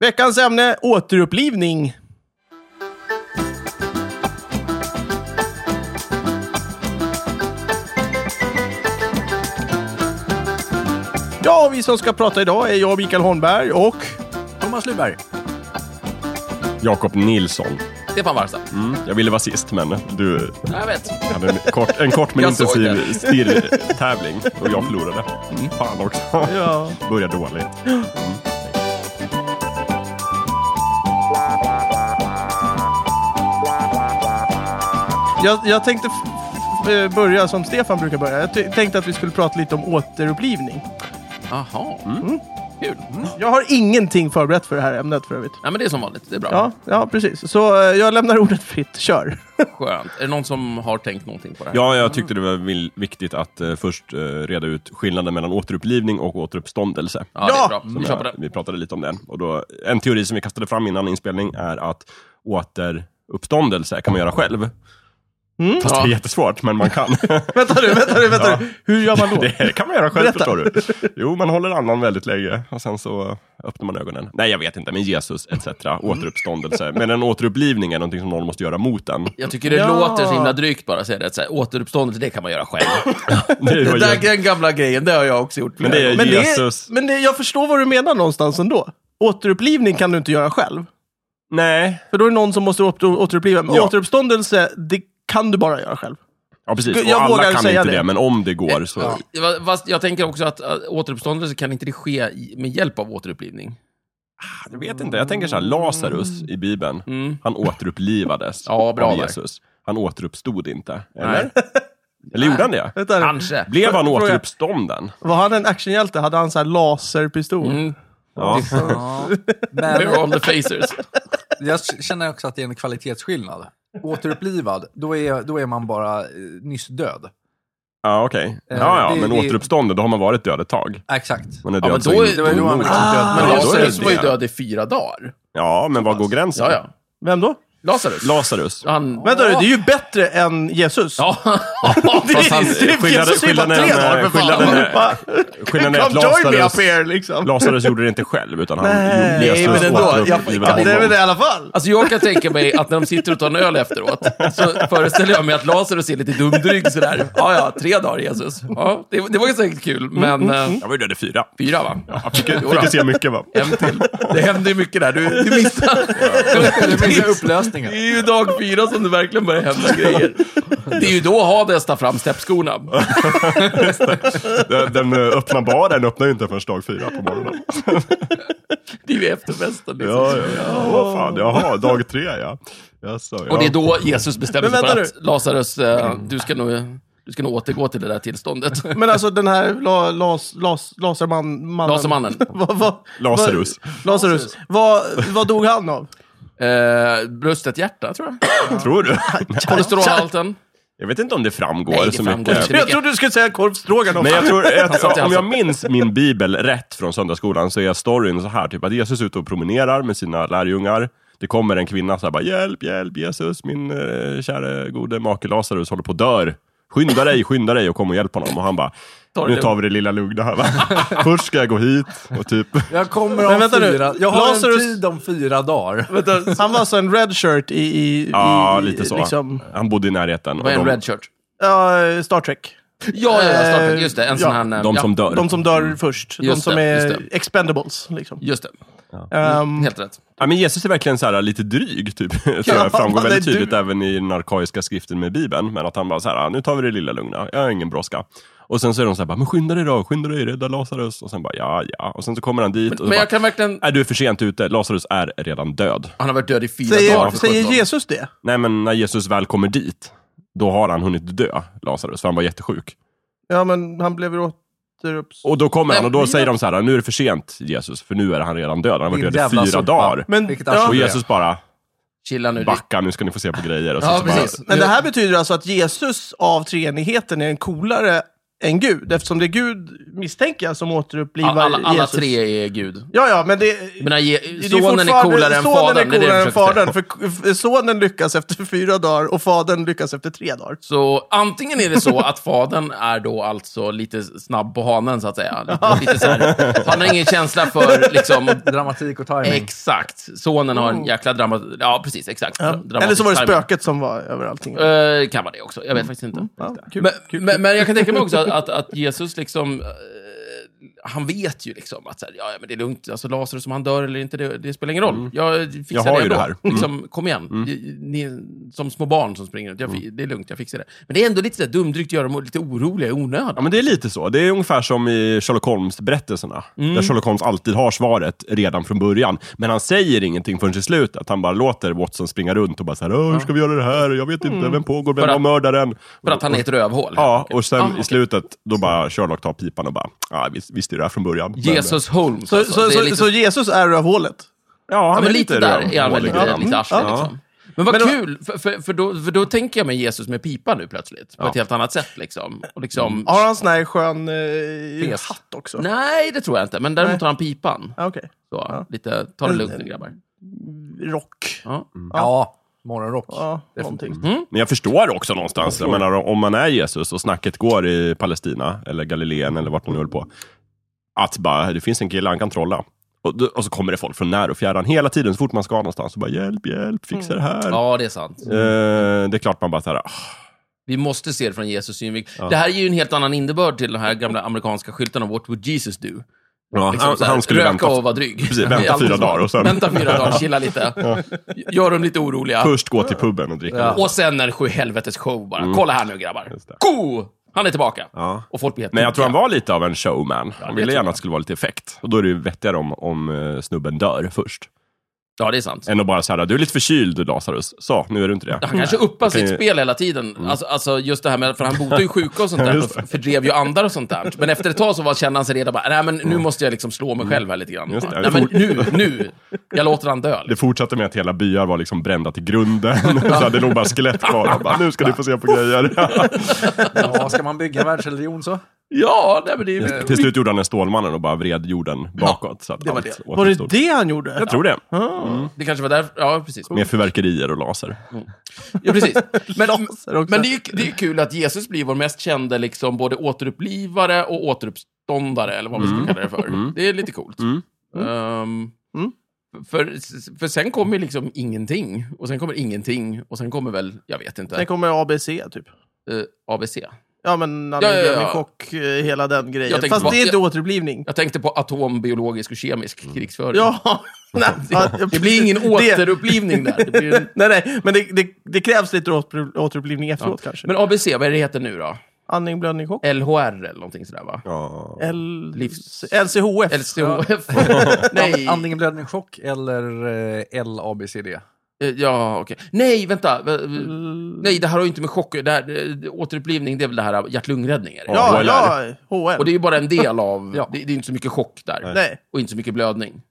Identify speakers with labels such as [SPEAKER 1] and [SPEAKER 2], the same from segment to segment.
[SPEAKER 1] Veckans ämne, återupplivning. Ja, vi som ska prata idag är jag, Mikael Holmberg och
[SPEAKER 2] Thomas Lyberg.
[SPEAKER 3] Jakob Nilsson.
[SPEAKER 2] Stefan Warsta.
[SPEAKER 3] Jag ville vara sist, men du
[SPEAKER 2] Ja, alltså. Jag vet.
[SPEAKER 3] hade en kort, en kort men
[SPEAKER 2] Jag såg
[SPEAKER 3] intensiv stirrtävling och jag förlorade. Fan också.
[SPEAKER 1] Ja.
[SPEAKER 3] Börjar dåligt.
[SPEAKER 1] Jag, jag tänkte f- f- eh, börja som Stefan brukar börja. Jag ty- tänkte att vi skulle prata lite om återupplivning.
[SPEAKER 2] Jaha. Mm. Kul.
[SPEAKER 1] Jag har ingenting förberett för det här ämnet för övrigt.
[SPEAKER 2] Ja, men det är som vanligt. Det är bra.
[SPEAKER 1] Ja, ja precis. Så eh, jag lämnar ordet fritt. Kör!
[SPEAKER 2] Skönt. Är det någon som har tänkt någonting på det här?
[SPEAKER 3] Ja, jag tyckte det var vil- viktigt att eh, först eh, reda ut skillnaden mellan återupplivning och återuppståndelse.
[SPEAKER 2] Ja, det
[SPEAKER 1] Ja!
[SPEAKER 2] är bra.
[SPEAKER 3] Som
[SPEAKER 2] Vi kör på
[SPEAKER 3] jag-
[SPEAKER 2] det.
[SPEAKER 3] Vi pratade lite om den. Och då, en teori som vi kastade fram innan inspelning är att återuppståndelse kan man göra själv. Fast
[SPEAKER 2] Ja.
[SPEAKER 3] det är jättesvårt, men man kan.
[SPEAKER 1] Vänta nu, vänta nu, vänta nu. Hur gör man då?
[SPEAKER 3] Det kan man göra själv
[SPEAKER 1] Berätta.
[SPEAKER 3] förstår du. Jo, man håller andan väldigt länge och sen så öppnar man ögonen. Nej, jag vet inte, men Jesus etc. Återuppståndelse. Men en återupplivning är någonting som någon måste göra mot en.
[SPEAKER 2] Jag tycker det
[SPEAKER 1] Ja.
[SPEAKER 2] låter så himla drygt bara att säga det. Så här, återuppståndelse, det kan man göra själv.
[SPEAKER 3] Det
[SPEAKER 2] det
[SPEAKER 3] var
[SPEAKER 2] där,
[SPEAKER 3] ju-
[SPEAKER 2] den gamla grejen, det har jag också gjort.
[SPEAKER 3] Men det är
[SPEAKER 1] Men, det,
[SPEAKER 3] Jesus.
[SPEAKER 1] är- men det, jag förstår vad du menar någonstans ändå. Återupplivning kan du inte göra själv.
[SPEAKER 3] Nej.
[SPEAKER 1] För då är det någon som måste åter, återuppliva. Men
[SPEAKER 3] Ja.
[SPEAKER 1] återuppståndelse, det kan du bara göra själv.
[SPEAKER 3] Ja, precis.
[SPEAKER 1] Jag
[SPEAKER 3] Och alla
[SPEAKER 1] vågar
[SPEAKER 3] kan
[SPEAKER 1] säga
[SPEAKER 3] inte det.
[SPEAKER 1] det.
[SPEAKER 3] men om det går så...
[SPEAKER 2] Ja. Va- Fast jag tänker också att äh, återuppståndelse kan inte det ske i- med hjälp av återupplivning.
[SPEAKER 3] Ah, Jag vet inte, jag tänker så här, Lazarus i Bibeln,
[SPEAKER 2] Mm.
[SPEAKER 3] han återupplivades
[SPEAKER 2] Ja, bra
[SPEAKER 3] av
[SPEAKER 2] där.
[SPEAKER 3] Jesus. Han återuppstod inte, eller?
[SPEAKER 2] Nej.
[SPEAKER 3] Eller gjorde han det?
[SPEAKER 1] Vänta nu.
[SPEAKER 2] Kanske.
[SPEAKER 3] Blev han
[SPEAKER 1] Fråga.
[SPEAKER 3] återuppstånden?
[SPEAKER 1] Var han en actionhjälte? Hade han så här laserpistol?
[SPEAKER 2] Mm.
[SPEAKER 3] Ja.
[SPEAKER 4] Ja,
[SPEAKER 2] We're
[SPEAKER 4] men
[SPEAKER 2] all the facers.
[SPEAKER 4] jag känner också att det är en kvalitetsskillnad. Återupplivad, då är, då är man bara eh, nyss död.
[SPEAKER 3] Ja, okej. Ja,
[SPEAKER 4] Eh,
[SPEAKER 3] ja,
[SPEAKER 4] det-
[SPEAKER 3] men
[SPEAKER 4] det-
[SPEAKER 3] återuppstånden, då har man varit död ett tag.
[SPEAKER 4] Exakt.
[SPEAKER 3] Man är alltså Ah!
[SPEAKER 2] Ja,
[SPEAKER 3] död
[SPEAKER 2] men
[SPEAKER 3] så
[SPEAKER 2] då är-
[SPEAKER 3] in-
[SPEAKER 2] då är
[SPEAKER 4] man
[SPEAKER 3] emot.
[SPEAKER 4] liksom död.
[SPEAKER 1] Ja,
[SPEAKER 3] då
[SPEAKER 2] Men
[SPEAKER 3] är
[SPEAKER 2] Lazarus
[SPEAKER 3] det
[SPEAKER 2] var ju
[SPEAKER 3] det.
[SPEAKER 2] död i fyra dagar.
[SPEAKER 3] Ja, men var går gränsen?
[SPEAKER 2] Ja, ja.
[SPEAKER 1] Vem då?
[SPEAKER 2] Lazarus.
[SPEAKER 3] Lazarus.
[SPEAKER 2] Han...
[SPEAKER 1] Vänta nu, det är ju bättre än Jesus.
[SPEAKER 2] Ja,
[SPEAKER 1] det
[SPEAKER 3] fast han-
[SPEAKER 1] är typ
[SPEAKER 3] skillnaden-
[SPEAKER 1] Jesus är ju bara
[SPEAKER 3] skillnaden-
[SPEAKER 1] tre dagar för
[SPEAKER 3] skillnaden är-
[SPEAKER 1] fan.
[SPEAKER 3] Skillnaden är att
[SPEAKER 1] Come join me up
[SPEAKER 3] Lazarus,
[SPEAKER 1] here liksom.
[SPEAKER 3] Lazarus gjorde det inte själv, utan han
[SPEAKER 1] Nej,
[SPEAKER 3] Jesus
[SPEAKER 2] men ändå, jag-
[SPEAKER 1] Ja,
[SPEAKER 3] återupplivade honom.
[SPEAKER 1] det är väl det i alla fall.
[SPEAKER 2] Alltså jag kan tänka mig att när de sitter och tar en öl efteråt, så föreställer jag mig att Lazarus är lite dumdryg sådär. Ja, ja, tre dagar Jesus. Ja, det, det var ju säkert kul, men eh,
[SPEAKER 3] Jag var ju död i fyra.
[SPEAKER 2] fyra va? Ja,
[SPEAKER 3] Mm, Jag fick, fick ju se mycket va?
[SPEAKER 2] En till. Det händer ju mycket där. Du, du missar.
[SPEAKER 4] Det
[SPEAKER 2] Det
[SPEAKER 4] blir
[SPEAKER 2] är-
[SPEAKER 4] upplösningen.
[SPEAKER 2] Det är ju dag fyra som det verkligen börjar hända grejer. Det är ju då Hades tar fram steppskorna.
[SPEAKER 3] Den, den eh, öppna baren öppnar ju inte förrän dag fyra på morgonen.
[SPEAKER 2] Det är ju efterfesten liksom.
[SPEAKER 3] Ja, ja, ja. Vad fan, jaha, dag tre ja. Jaså, ja.
[SPEAKER 2] Och det är då Jesus bestämmer sig
[SPEAKER 1] Men
[SPEAKER 2] för
[SPEAKER 1] vänta
[SPEAKER 2] att Lazarus, eh, du ska nog... Du ska nog återgå till det där tillståndet.
[SPEAKER 1] Men alltså den här la, las, las, laserman, mannen.
[SPEAKER 2] Lasermannen.
[SPEAKER 1] Vad- vad-
[SPEAKER 3] Lazarus.
[SPEAKER 1] vad- Lazarus. Vad, vad dog han av?
[SPEAKER 2] Eh, bröstet hjärta, tror jag.
[SPEAKER 3] Tror du?
[SPEAKER 2] Kolesterolhalten.
[SPEAKER 3] Jag vet inte om det framgår
[SPEAKER 2] Nej, det
[SPEAKER 3] så
[SPEAKER 2] framgår
[SPEAKER 3] mycket.
[SPEAKER 2] inte. mycket.
[SPEAKER 1] Jag trodde du skulle säga korv stroganoff.
[SPEAKER 3] Men jag tror, att,
[SPEAKER 2] satt i
[SPEAKER 3] om jag
[SPEAKER 2] halsen.
[SPEAKER 3] minns min bibel rätt från söndagsskolan så är storyn så här, typ att Jesus är ute och promenerar med sina lärjungar. Det kommer en kvinna så här bara, hjälp, hjälp Jesus, min eh, kära gode make Lazarus håller på att dör. Skynda dig, skynda dig och kom och hjälp honom. Och han bara,
[SPEAKER 2] Ta det
[SPEAKER 3] nu
[SPEAKER 2] lugnt."
[SPEAKER 3] tar vi det lilla lugna här va. Först ska jag gå hit och typ,
[SPEAKER 4] Jag kommer
[SPEAKER 1] Men
[SPEAKER 4] om
[SPEAKER 1] vänta nu.
[SPEAKER 4] fyra... Jag har
[SPEAKER 1] Lazarus-
[SPEAKER 4] en tid om fyra dagar.
[SPEAKER 1] Vänta, Han var alltså en redshirt i, i,
[SPEAKER 3] ja
[SPEAKER 1] i
[SPEAKER 3] lite så.
[SPEAKER 1] Liksom,
[SPEAKER 3] Han bodde i närheten.
[SPEAKER 2] Vad är en
[SPEAKER 3] de,
[SPEAKER 2] red shirt?
[SPEAKER 1] ja, Star Trek.
[SPEAKER 2] Ja, ja, ja, Star Trek.
[SPEAKER 1] Eh,
[SPEAKER 2] Just det. En
[SPEAKER 1] ja,
[SPEAKER 2] sån här... eh,
[SPEAKER 3] de
[SPEAKER 2] ja,
[SPEAKER 3] som dör.
[SPEAKER 1] De som dör först. De
[SPEAKER 2] Mm. Just
[SPEAKER 1] som
[SPEAKER 2] det,
[SPEAKER 1] är
[SPEAKER 2] just det. Mm.
[SPEAKER 1] expendables. Liksom.
[SPEAKER 2] Just det.
[SPEAKER 1] Ehm,
[SPEAKER 2] Helt rätt.
[SPEAKER 3] Ja, men Jesus är verkligen så här, lite dryg, typ. tror
[SPEAKER 1] Ja,
[SPEAKER 3] jag framgår
[SPEAKER 1] han är
[SPEAKER 3] väldigt tydligt
[SPEAKER 1] dryg.
[SPEAKER 3] även i den arkaiska skriften med Bibeln. Men att han bara så här, "Ah, nu tar vi det lilla lugna, jag har ingen brådska. Och sen så är de så här, bara, men skynda dig då, skynda dig, rädda Lazarus Och sen bara, ja, ja. Och sen så kommer han dit och så
[SPEAKER 2] Men
[SPEAKER 3] bara,
[SPEAKER 2] jag kan verkligen...
[SPEAKER 3] är du är för sent ute, Lazarus är redan död.
[SPEAKER 2] Han har varit död i fyra dagar.
[SPEAKER 1] säger,
[SPEAKER 2] för
[SPEAKER 1] säger
[SPEAKER 2] sjutton.
[SPEAKER 1] Jesus det?
[SPEAKER 3] Nej, men när Jesus väl kommer dit, då har han hunnit dö, Lazarus för han var jättesjuk.
[SPEAKER 1] Ja, men han blev återupps...
[SPEAKER 3] Och då kommer
[SPEAKER 2] Nej,
[SPEAKER 3] han och då
[SPEAKER 2] men-
[SPEAKER 3] säger de så här, nu är det för sent Jesus, för nu är han redan död, han har
[SPEAKER 4] Din
[SPEAKER 3] varit död i
[SPEAKER 4] jävla
[SPEAKER 3] fyra
[SPEAKER 4] sopa.
[SPEAKER 3] dagar.
[SPEAKER 1] Men,
[SPEAKER 4] Vilket
[SPEAKER 1] ja,
[SPEAKER 4] arsle.
[SPEAKER 3] Och Jesus bara,
[SPEAKER 2] Chilla nu.
[SPEAKER 3] backa, nu ska ni få se på grejer. Och så,
[SPEAKER 2] Ja,
[SPEAKER 3] så bara,
[SPEAKER 2] precis.
[SPEAKER 1] men det här betyder alltså att Jesus av treenigheten är en coolare än Gud. Eftersom det är Gud, misstänker jag, som återupplivar
[SPEAKER 2] Ja, alla, alla
[SPEAKER 1] Jesus.
[SPEAKER 2] tre är Gud.
[SPEAKER 1] Ja, ja, men det...
[SPEAKER 2] Jag menar, ge,
[SPEAKER 1] det är
[SPEAKER 2] sonen är
[SPEAKER 1] fortfarande-
[SPEAKER 2] coolare än
[SPEAKER 1] sonen
[SPEAKER 2] fadern.
[SPEAKER 1] är
[SPEAKER 2] det är det
[SPEAKER 1] coolare
[SPEAKER 2] jag
[SPEAKER 1] än
[SPEAKER 2] försöker säga.
[SPEAKER 1] fadern. För k- sonen lyckas efter fyra dagar och fadern lyckas efter tre dagar.
[SPEAKER 2] Så antingen är det så att fadern är då alltså lite snabb på hanen, så att säga. Lite, lite så här, han har ingen känsla för liksom...
[SPEAKER 4] Dramatik och timing.
[SPEAKER 2] Exakt. Sonen har en jäkla dramatik. Ja, precis. Exakt. Dramatisk
[SPEAKER 1] Oh. Eller så var det
[SPEAKER 2] timing.
[SPEAKER 1] spöket som var över allting.
[SPEAKER 2] Eh, kan vara det också. Jag vet faktiskt inte.
[SPEAKER 1] Mm. Ja, kul.
[SPEAKER 2] Men, men, men jag kan tänka mig också att, att, att Jesus liksom... eh, han vet ju liksom att så här, ja, ja, men det är lugnt. Alltså Lazarus, som han dör eller inte, det, det spelar ingen roll. Jag fixar
[SPEAKER 3] Mm. Jag har
[SPEAKER 2] det
[SPEAKER 3] ju
[SPEAKER 2] ändå.
[SPEAKER 3] det här. Mm. Mm.
[SPEAKER 2] Liksom, kom igen. Ni- Ni, som små barn som springer runt. Jag, fi- Det är lugnt, jag fixar det. Men det är ändå lite så här dumdrygt att göra dem lite oroliga i onödan.
[SPEAKER 3] Ja, men det är lite så. Det är ungefär som i Sherlock Holmes-berättelserna.
[SPEAKER 2] Mm.
[SPEAKER 3] Där Sherlock Holmes alltid har svaret redan från början. Men han säger ingenting förrän i slutet. Han bara låter Watson springa runt och bara så här, "Åh, hur ska vi göra det här? Jag vet inte, vem pågår, vem
[SPEAKER 2] Mm. För
[SPEAKER 3] var
[SPEAKER 2] att-
[SPEAKER 3] mördaren?
[SPEAKER 2] För att han är ett rövhål.
[SPEAKER 3] Ja, och sen
[SPEAKER 2] Ah, okej.
[SPEAKER 3] i slutet, då bara Sherlock tar pipan och bara, ah, visst, visste ju det här från början. Men- eh,
[SPEAKER 2] Jesus Holmes.
[SPEAKER 1] Så,
[SPEAKER 2] alltså.
[SPEAKER 1] så,
[SPEAKER 2] Det är
[SPEAKER 1] så,
[SPEAKER 2] lite
[SPEAKER 1] så Jesus är rövhålet?
[SPEAKER 3] Ja, han
[SPEAKER 2] Ja, men lite där är han väl
[SPEAKER 3] rövhålig
[SPEAKER 2] lite,
[SPEAKER 3] redan.
[SPEAKER 2] lite arslig.
[SPEAKER 3] Ja.
[SPEAKER 2] Liksom. Men vad
[SPEAKER 1] Men då-
[SPEAKER 2] kul, för, för, för, då, för då tänker jag mig Jesus med pipa nu plötsligt. På ett helt annat sätt liksom. Och
[SPEAKER 3] Mm.
[SPEAKER 2] liksom
[SPEAKER 1] Har han sån här skön eh,
[SPEAKER 2] Fes.
[SPEAKER 1] hatt också?
[SPEAKER 2] Nej, det tror jag inte. Men däremot
[SPEAKER 1] Nej.
[SPEAKER 2] har han pipan.
[SPEAKER 1] Ah, Okej.
[SPEAKER 2] Så, lite, ta det
[SPEAKER 3] Mm.
[SPEAKER 2] lugnt nu grabbar.
[SPEAKER 1] Rock.
[SPEAKER 2] Ja.
[SPEAKER 4] Ja, morgonrock.
[SPEAKER 1] Ja, någonting.
[SPEAKER 2] Mhm.
[SPEAKER 3] Men jag förstår också någonstans. Jag menar, om man är Jesus och snacket går i Palestina eller Galileen eller vart man nu höll på. Att bara, det finns en kille, han kan trolla. Och, då- och så kommer det folk från när och fjärran hela tiden, så fort man ska någonstans. Och bara, hjälp, hjälp, fixa det här.
[SPEAKER 2] ja, det är sant.
[SPEAKER 3] Eh, det är klart man bara så här, ah,
[SPEAKER 2] Vi måste se det från Jesus synvinkel. Det här är ju en helt annan innebörd till den här gamla amerikanska skylten om What would Jesus do?
[SPEAKER 3] ja,
[SPEAKER 2] Liksom
[SPEAKER 3] han,
[SPEAKER 2] så här,
[SPEAKER 3] han skulle
[SPEAKER 2] röka
[SPEAKER 3] vänta.
[SPEAKER 2] och vara dryg.
[SPEAKER 3] Precis, vänta
[SPEAKER 2] Det är alltid
[SPEAKER 3] fyra
[SPEAKER 2] så.
[SPEAKER 3] dagar och sen-
[SPEAKER 2] Vänta fyra dagar, chilla lite. Gör dem lite oroliga.
[SPEAKER 3] Först gå till puben och dricka.
[SPEAKER 4] Ja.
[SPEAKER 2] Och sen är det sju helvetes show bara. Kolla här nu grabbar.
[SPEAKER 3] Mm. Just det.
[SPEAKER 2] Go! Han är tillbaka.
[SPEAKER 3] Ja.
[SPEAKER 2] Och folk blir helt
[SPEAKER 3] Men jag tror han
[SPEAKER 2] tokiga.
[SPEAKER 3] var lite av en showman. Han ville
[SPEAKER 2] tror
[SPEAKER 3] gärna att det skulle vara lite effekt. Och då är det ju vettigare om, om eh, snubben dör först.
[SPEAKER 2] Ja, det är sant.
[SPEAKER 3] Än att bara säga, du är lite förkyld Lazarus. Så, nu är du inte det.
[SPEAKER 2] Han kanske uppar
[SPEAKER 3] kan
[SPEAKER 2] sitt
[SPEAKER 3] ju-
[SPEAKER 2] spel hela tiden.
[SPEAKER 3] Mm.
[SPEAKER 2] Alltså, alltså just det här med, för han botar ju sjuka och sånt där och fördrev ju andar och sånt där. Men efter ett tag så var, kände han sig redan bara, nej men nu måste jag liksom slå mig själv här lite grann.
[SPEAKER 3] Mm. Just det.
[SPEAKER 2] Nej men nu, nu, jag låter han dö.
[SPEAKER 3] Det fortsatte med att hela byar var liksom brända till grunden. så här, det låg bara skelett kvar. Jag Bara, nu ska ni få se på grejer.
[SPEAKER 4] Ja, ska man bygga en världsreligion så?
[SPEAKER 2] Ja, nej men det är ju...
[SPEAKER 3] Till slut gjorde han en Stålmannen och bara vred jorden bakåt. Så att
[SPEAKER 2] var
[SPEAKER 3] allt
[SPEAKER 2] det.
[SPEAKER 1] Var det
[SPEAKER 3] återstod.
[SPEAKER 1] det han gjorde?
[SPEAKER 3] Jag tror det.
[SPEAKER 2] Det kanske var därför, ja precis.
[SPEAKER 3] Med fyrverkerier och laser.
[SPEAKER 2] Ja, precis. Men,
[SPEAKER 1] Laser också.
[SPEAKER 2] men det, är ju, det är ju kul att Jesus blir vår mest kände liksom både återupplivare och återuppståndare, eller vad vi ska kalla det för. Det är lite coolt. Ehm,
[SPEAKER 1] Mm.
[SPEAKER 2] För, för sen kommer ju liksom ingenting, och sen kommer ingenting, och sen kommer väl, jag vet inte,
[SPEAKER 1] Sen kommer ABC, typ.
[SPEAKER 2] eh, ABC.
[SPEAKER 1] Ja, men
[SPEAKER 2] Ja, ja, ja.
[SPEAKER 1] anemia med chock, eh, hela den
[SPEAKER 2] Jag
[SPEAKER 1] grejen.
[SPEAKER 2] tänkte
[SPEAKER 1] Fast
[SPEAKER 2] bara-
[SPEAKER 1] det är inte
[SPEAKER 2] jag-
[SPEAKER 1] återupplivning.
[SPEAKER 2] Jag tänkte på atombiologisk och kemisk krigföring.
[SPEAKER 1] Mm. Ja. Nej, ja, ja,
[SPEAKER 2] Det blir ingen
[SPEAKER 1] precis. Det-
[SPEAKER 2] återupplivning där. Det blir en...
[SPEAKER 1] Nej, nej, men det, det, det krävs lite åter, återupplivning efteråt kanske.
[SPEAKER 2] Men ABC, vad är det heter nu då?
[SPEAKER 1] Andning, blödning, chock.
[SPEAKER 2] LHR eller någonting sådär va?
[SPEAKER 3] Ja.
[SPEAKER 1] L-
[SPEAKER 2] Livs-
[SPEAKER 1] LCHF.
[SPEAKER 2] LCHF?
[SPEAKER 4] Nej.
[SPEAKER 2] Nej.
[SPEAKER 4] Andning, blödning, chock eller eh, LABCD?
[SPEAKER 2] Eh, Ja, okej. Nej, vänta. V- v-
[SPEAKER 3] Mm.
[SPEAKER 2] Nej, det här har ju inte med chock det här, eh, Återupplivning, det är väl det här hjärt-lungräddning? är det?
[SPEAKER 3] Ja,
[SPEAKER 1] Ja,
[SPEAKER 3] HLR.
[SPEAKER 1] ja, HL.
[SPEAKER 2] Och det är ju bara en del av...
[SPEAKER 4] Ja.
[SPEAKER 2] det, det är inte så mycket chock där.
[SPEAKER 1] Nej,
[SPEAKER 2] Och inte så mycket blödning.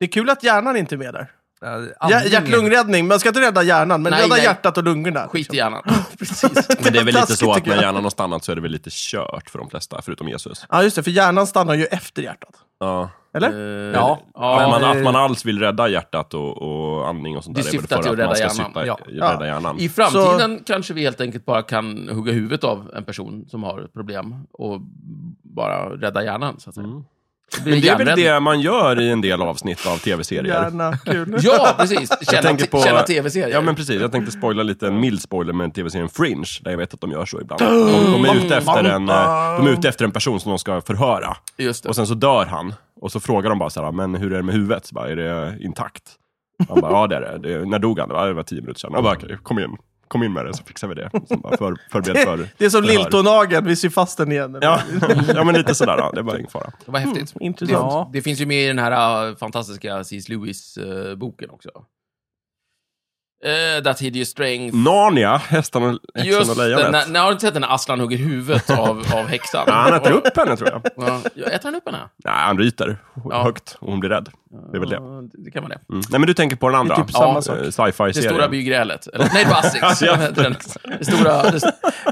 [SPEAKER 1] det är kul att hjärnan inte är med där.
[SPEAKER 4] Eh,
[SPEAKER 1] Hjär-
[SPEAKER 4] andningen.
[SPEAKER 1] Hjärt-lungräddning. Man ska inte rädda hjärnan, men
[SPEAKER 2] Nej,
[SPEAKER 1] rädda
[SPEAKER 2] nej.
[SPEAKER 1] hjärtat och lungorna.
[SPEAKER 2] Skit i
[SPEAKER 1] liksom.
[SPEAKER 2] hjärnan. Precis.
[SPEAKER 3] Men det är väl lite så att
[SPEAKER 1] Taskigt, tycker
[SPEAKER 3] när
[SPEAKER 1] jag.
[SPEAKER 3] hjärnan har stannat så är det väl lite kört för de flesta, förutom Jesus.
[SPEAKER 1] Ja, just det, för hjärnan stannar ju efter hjärtat.
[SPEAKER 3] Ja.
[SPEAKER 1] Eller?
[SPEAKER 2] Eh,
[SPEAKER 4] Ja.
[SPEAKER 2] ja.
[SPEAKER 3] att, man,
[SPEAKER 4] det-
[SPEAKER 3] att man alls vill rädda hjärtat och, och andning och sånt
[SPEAKER 2] Det
[SPEAKER 3] där. är väl
[SPEAKER 2] syftar
[SPEAKER 3] för
[SPEAKER 2] till att
[SPEAKER 3] man
[SPEAKER 2] rädda
[SPEAKER 3] ska
[SPEAKER 2] hjärnan.
[SPEAKER 3] syfta-
[SPEAKER 1] Ja.
[SPEAKER 3] Rädda hjärnan.
[SPEAKER 2] I framtiden kanske vi helt enkelt bara kan hugga huvudet av en person som har ett problem och bara rädda hjärnan, så att säga. Det
[SPEAKER 3] Mm.
[SPEAKER 2] blir
[SPEAKER 3] Men det är väl
[SPEAKER 2] hjärnräddning.
[SPEAKER 3] det man gör i en del avsnitt av tv-serier.
[SPEAKER 1] Hjärna, kul.
[SPEAKER 2] Ja, precis. Känna,
[SPEAKER 3] tänker på-
[SPEAKER 2] känna tv-serier.
[SPEAKER 3] Ja men precis, jag tänkte spoila lite, en mild spoiler med tv-serien Fringe, där jag vet att de gör så ibland. De, de, är ute efter en, eh, de är ute efter en person som de ska förhöra.
[SPEAKER 2] Just det.
[SPEAKER 3] Och sen så dör han. Och så frågar de bara så här, men hur är det med huvudet? Så bara, är det intakt? Han bara, ja det är det. det. är- När dog han? Det var, det var tio minuter sedan. Jag bara, okej, kom in. Kom in med det så fixar vi det. Så bara, för, förbered för
[SPEAKER 1] Det är som
[SPEAKER 3] förhör.
[SPEAKER 1] lilltånageln, vi ser fast den igen.
[SPEAKER 3] Ja. ja, men lite sådär. Ja. Det var ingen fara.
[SPEAKER 2] Det var häftigt. Det,
[SPEAKER 1] Intressant.
[SPEAKER 4] Ja.
[SPEAKER 2] det finns ju med i den här äh, fantastiska C.S. Lewis-boken också. eh, That Hideous Strength.
[SPEAKER 3] Narnia, hästarna, häxan Mm, och
[SPEAKER 2] Just det, när,
[SPEAKER 3] lejonet.
[SPEAKER 2] när har du inte sett när Aslan hugger huvudet av, av häxan?
[SPEAKER 3] Ja, han äter
[SPEAKER 2] Och-
[SPEAKER 3] upp henne tror jag.
[SPEAKER 2] Ja, ja, äter han upp henne?
[SPEAKER 3] Nej, han ryter
[SPEAKER 2] Ja.
[SPEAKER 3] högt och hon blir rädd. Det är väl det. Mm.
[SPEAKER 2] Ja, det kan vara det.
[SPEAKER 3] Nej, men du tänker på den andra?
[SPEAKER 1] Det är typ samma
[SPEAKER 3] Ja,
[SPEAKER 1] sak.
[SPEAKER 3] eh,
[SPEAKER 2] Det stora
[SPEAKER 3] Sci-fi-serien.
[SPEAKER 2] bygrälet. Eller, nej, det var Asics.
[SPEAKER 3] Ja.
[SPEAKER 2] Den- det stora... Det,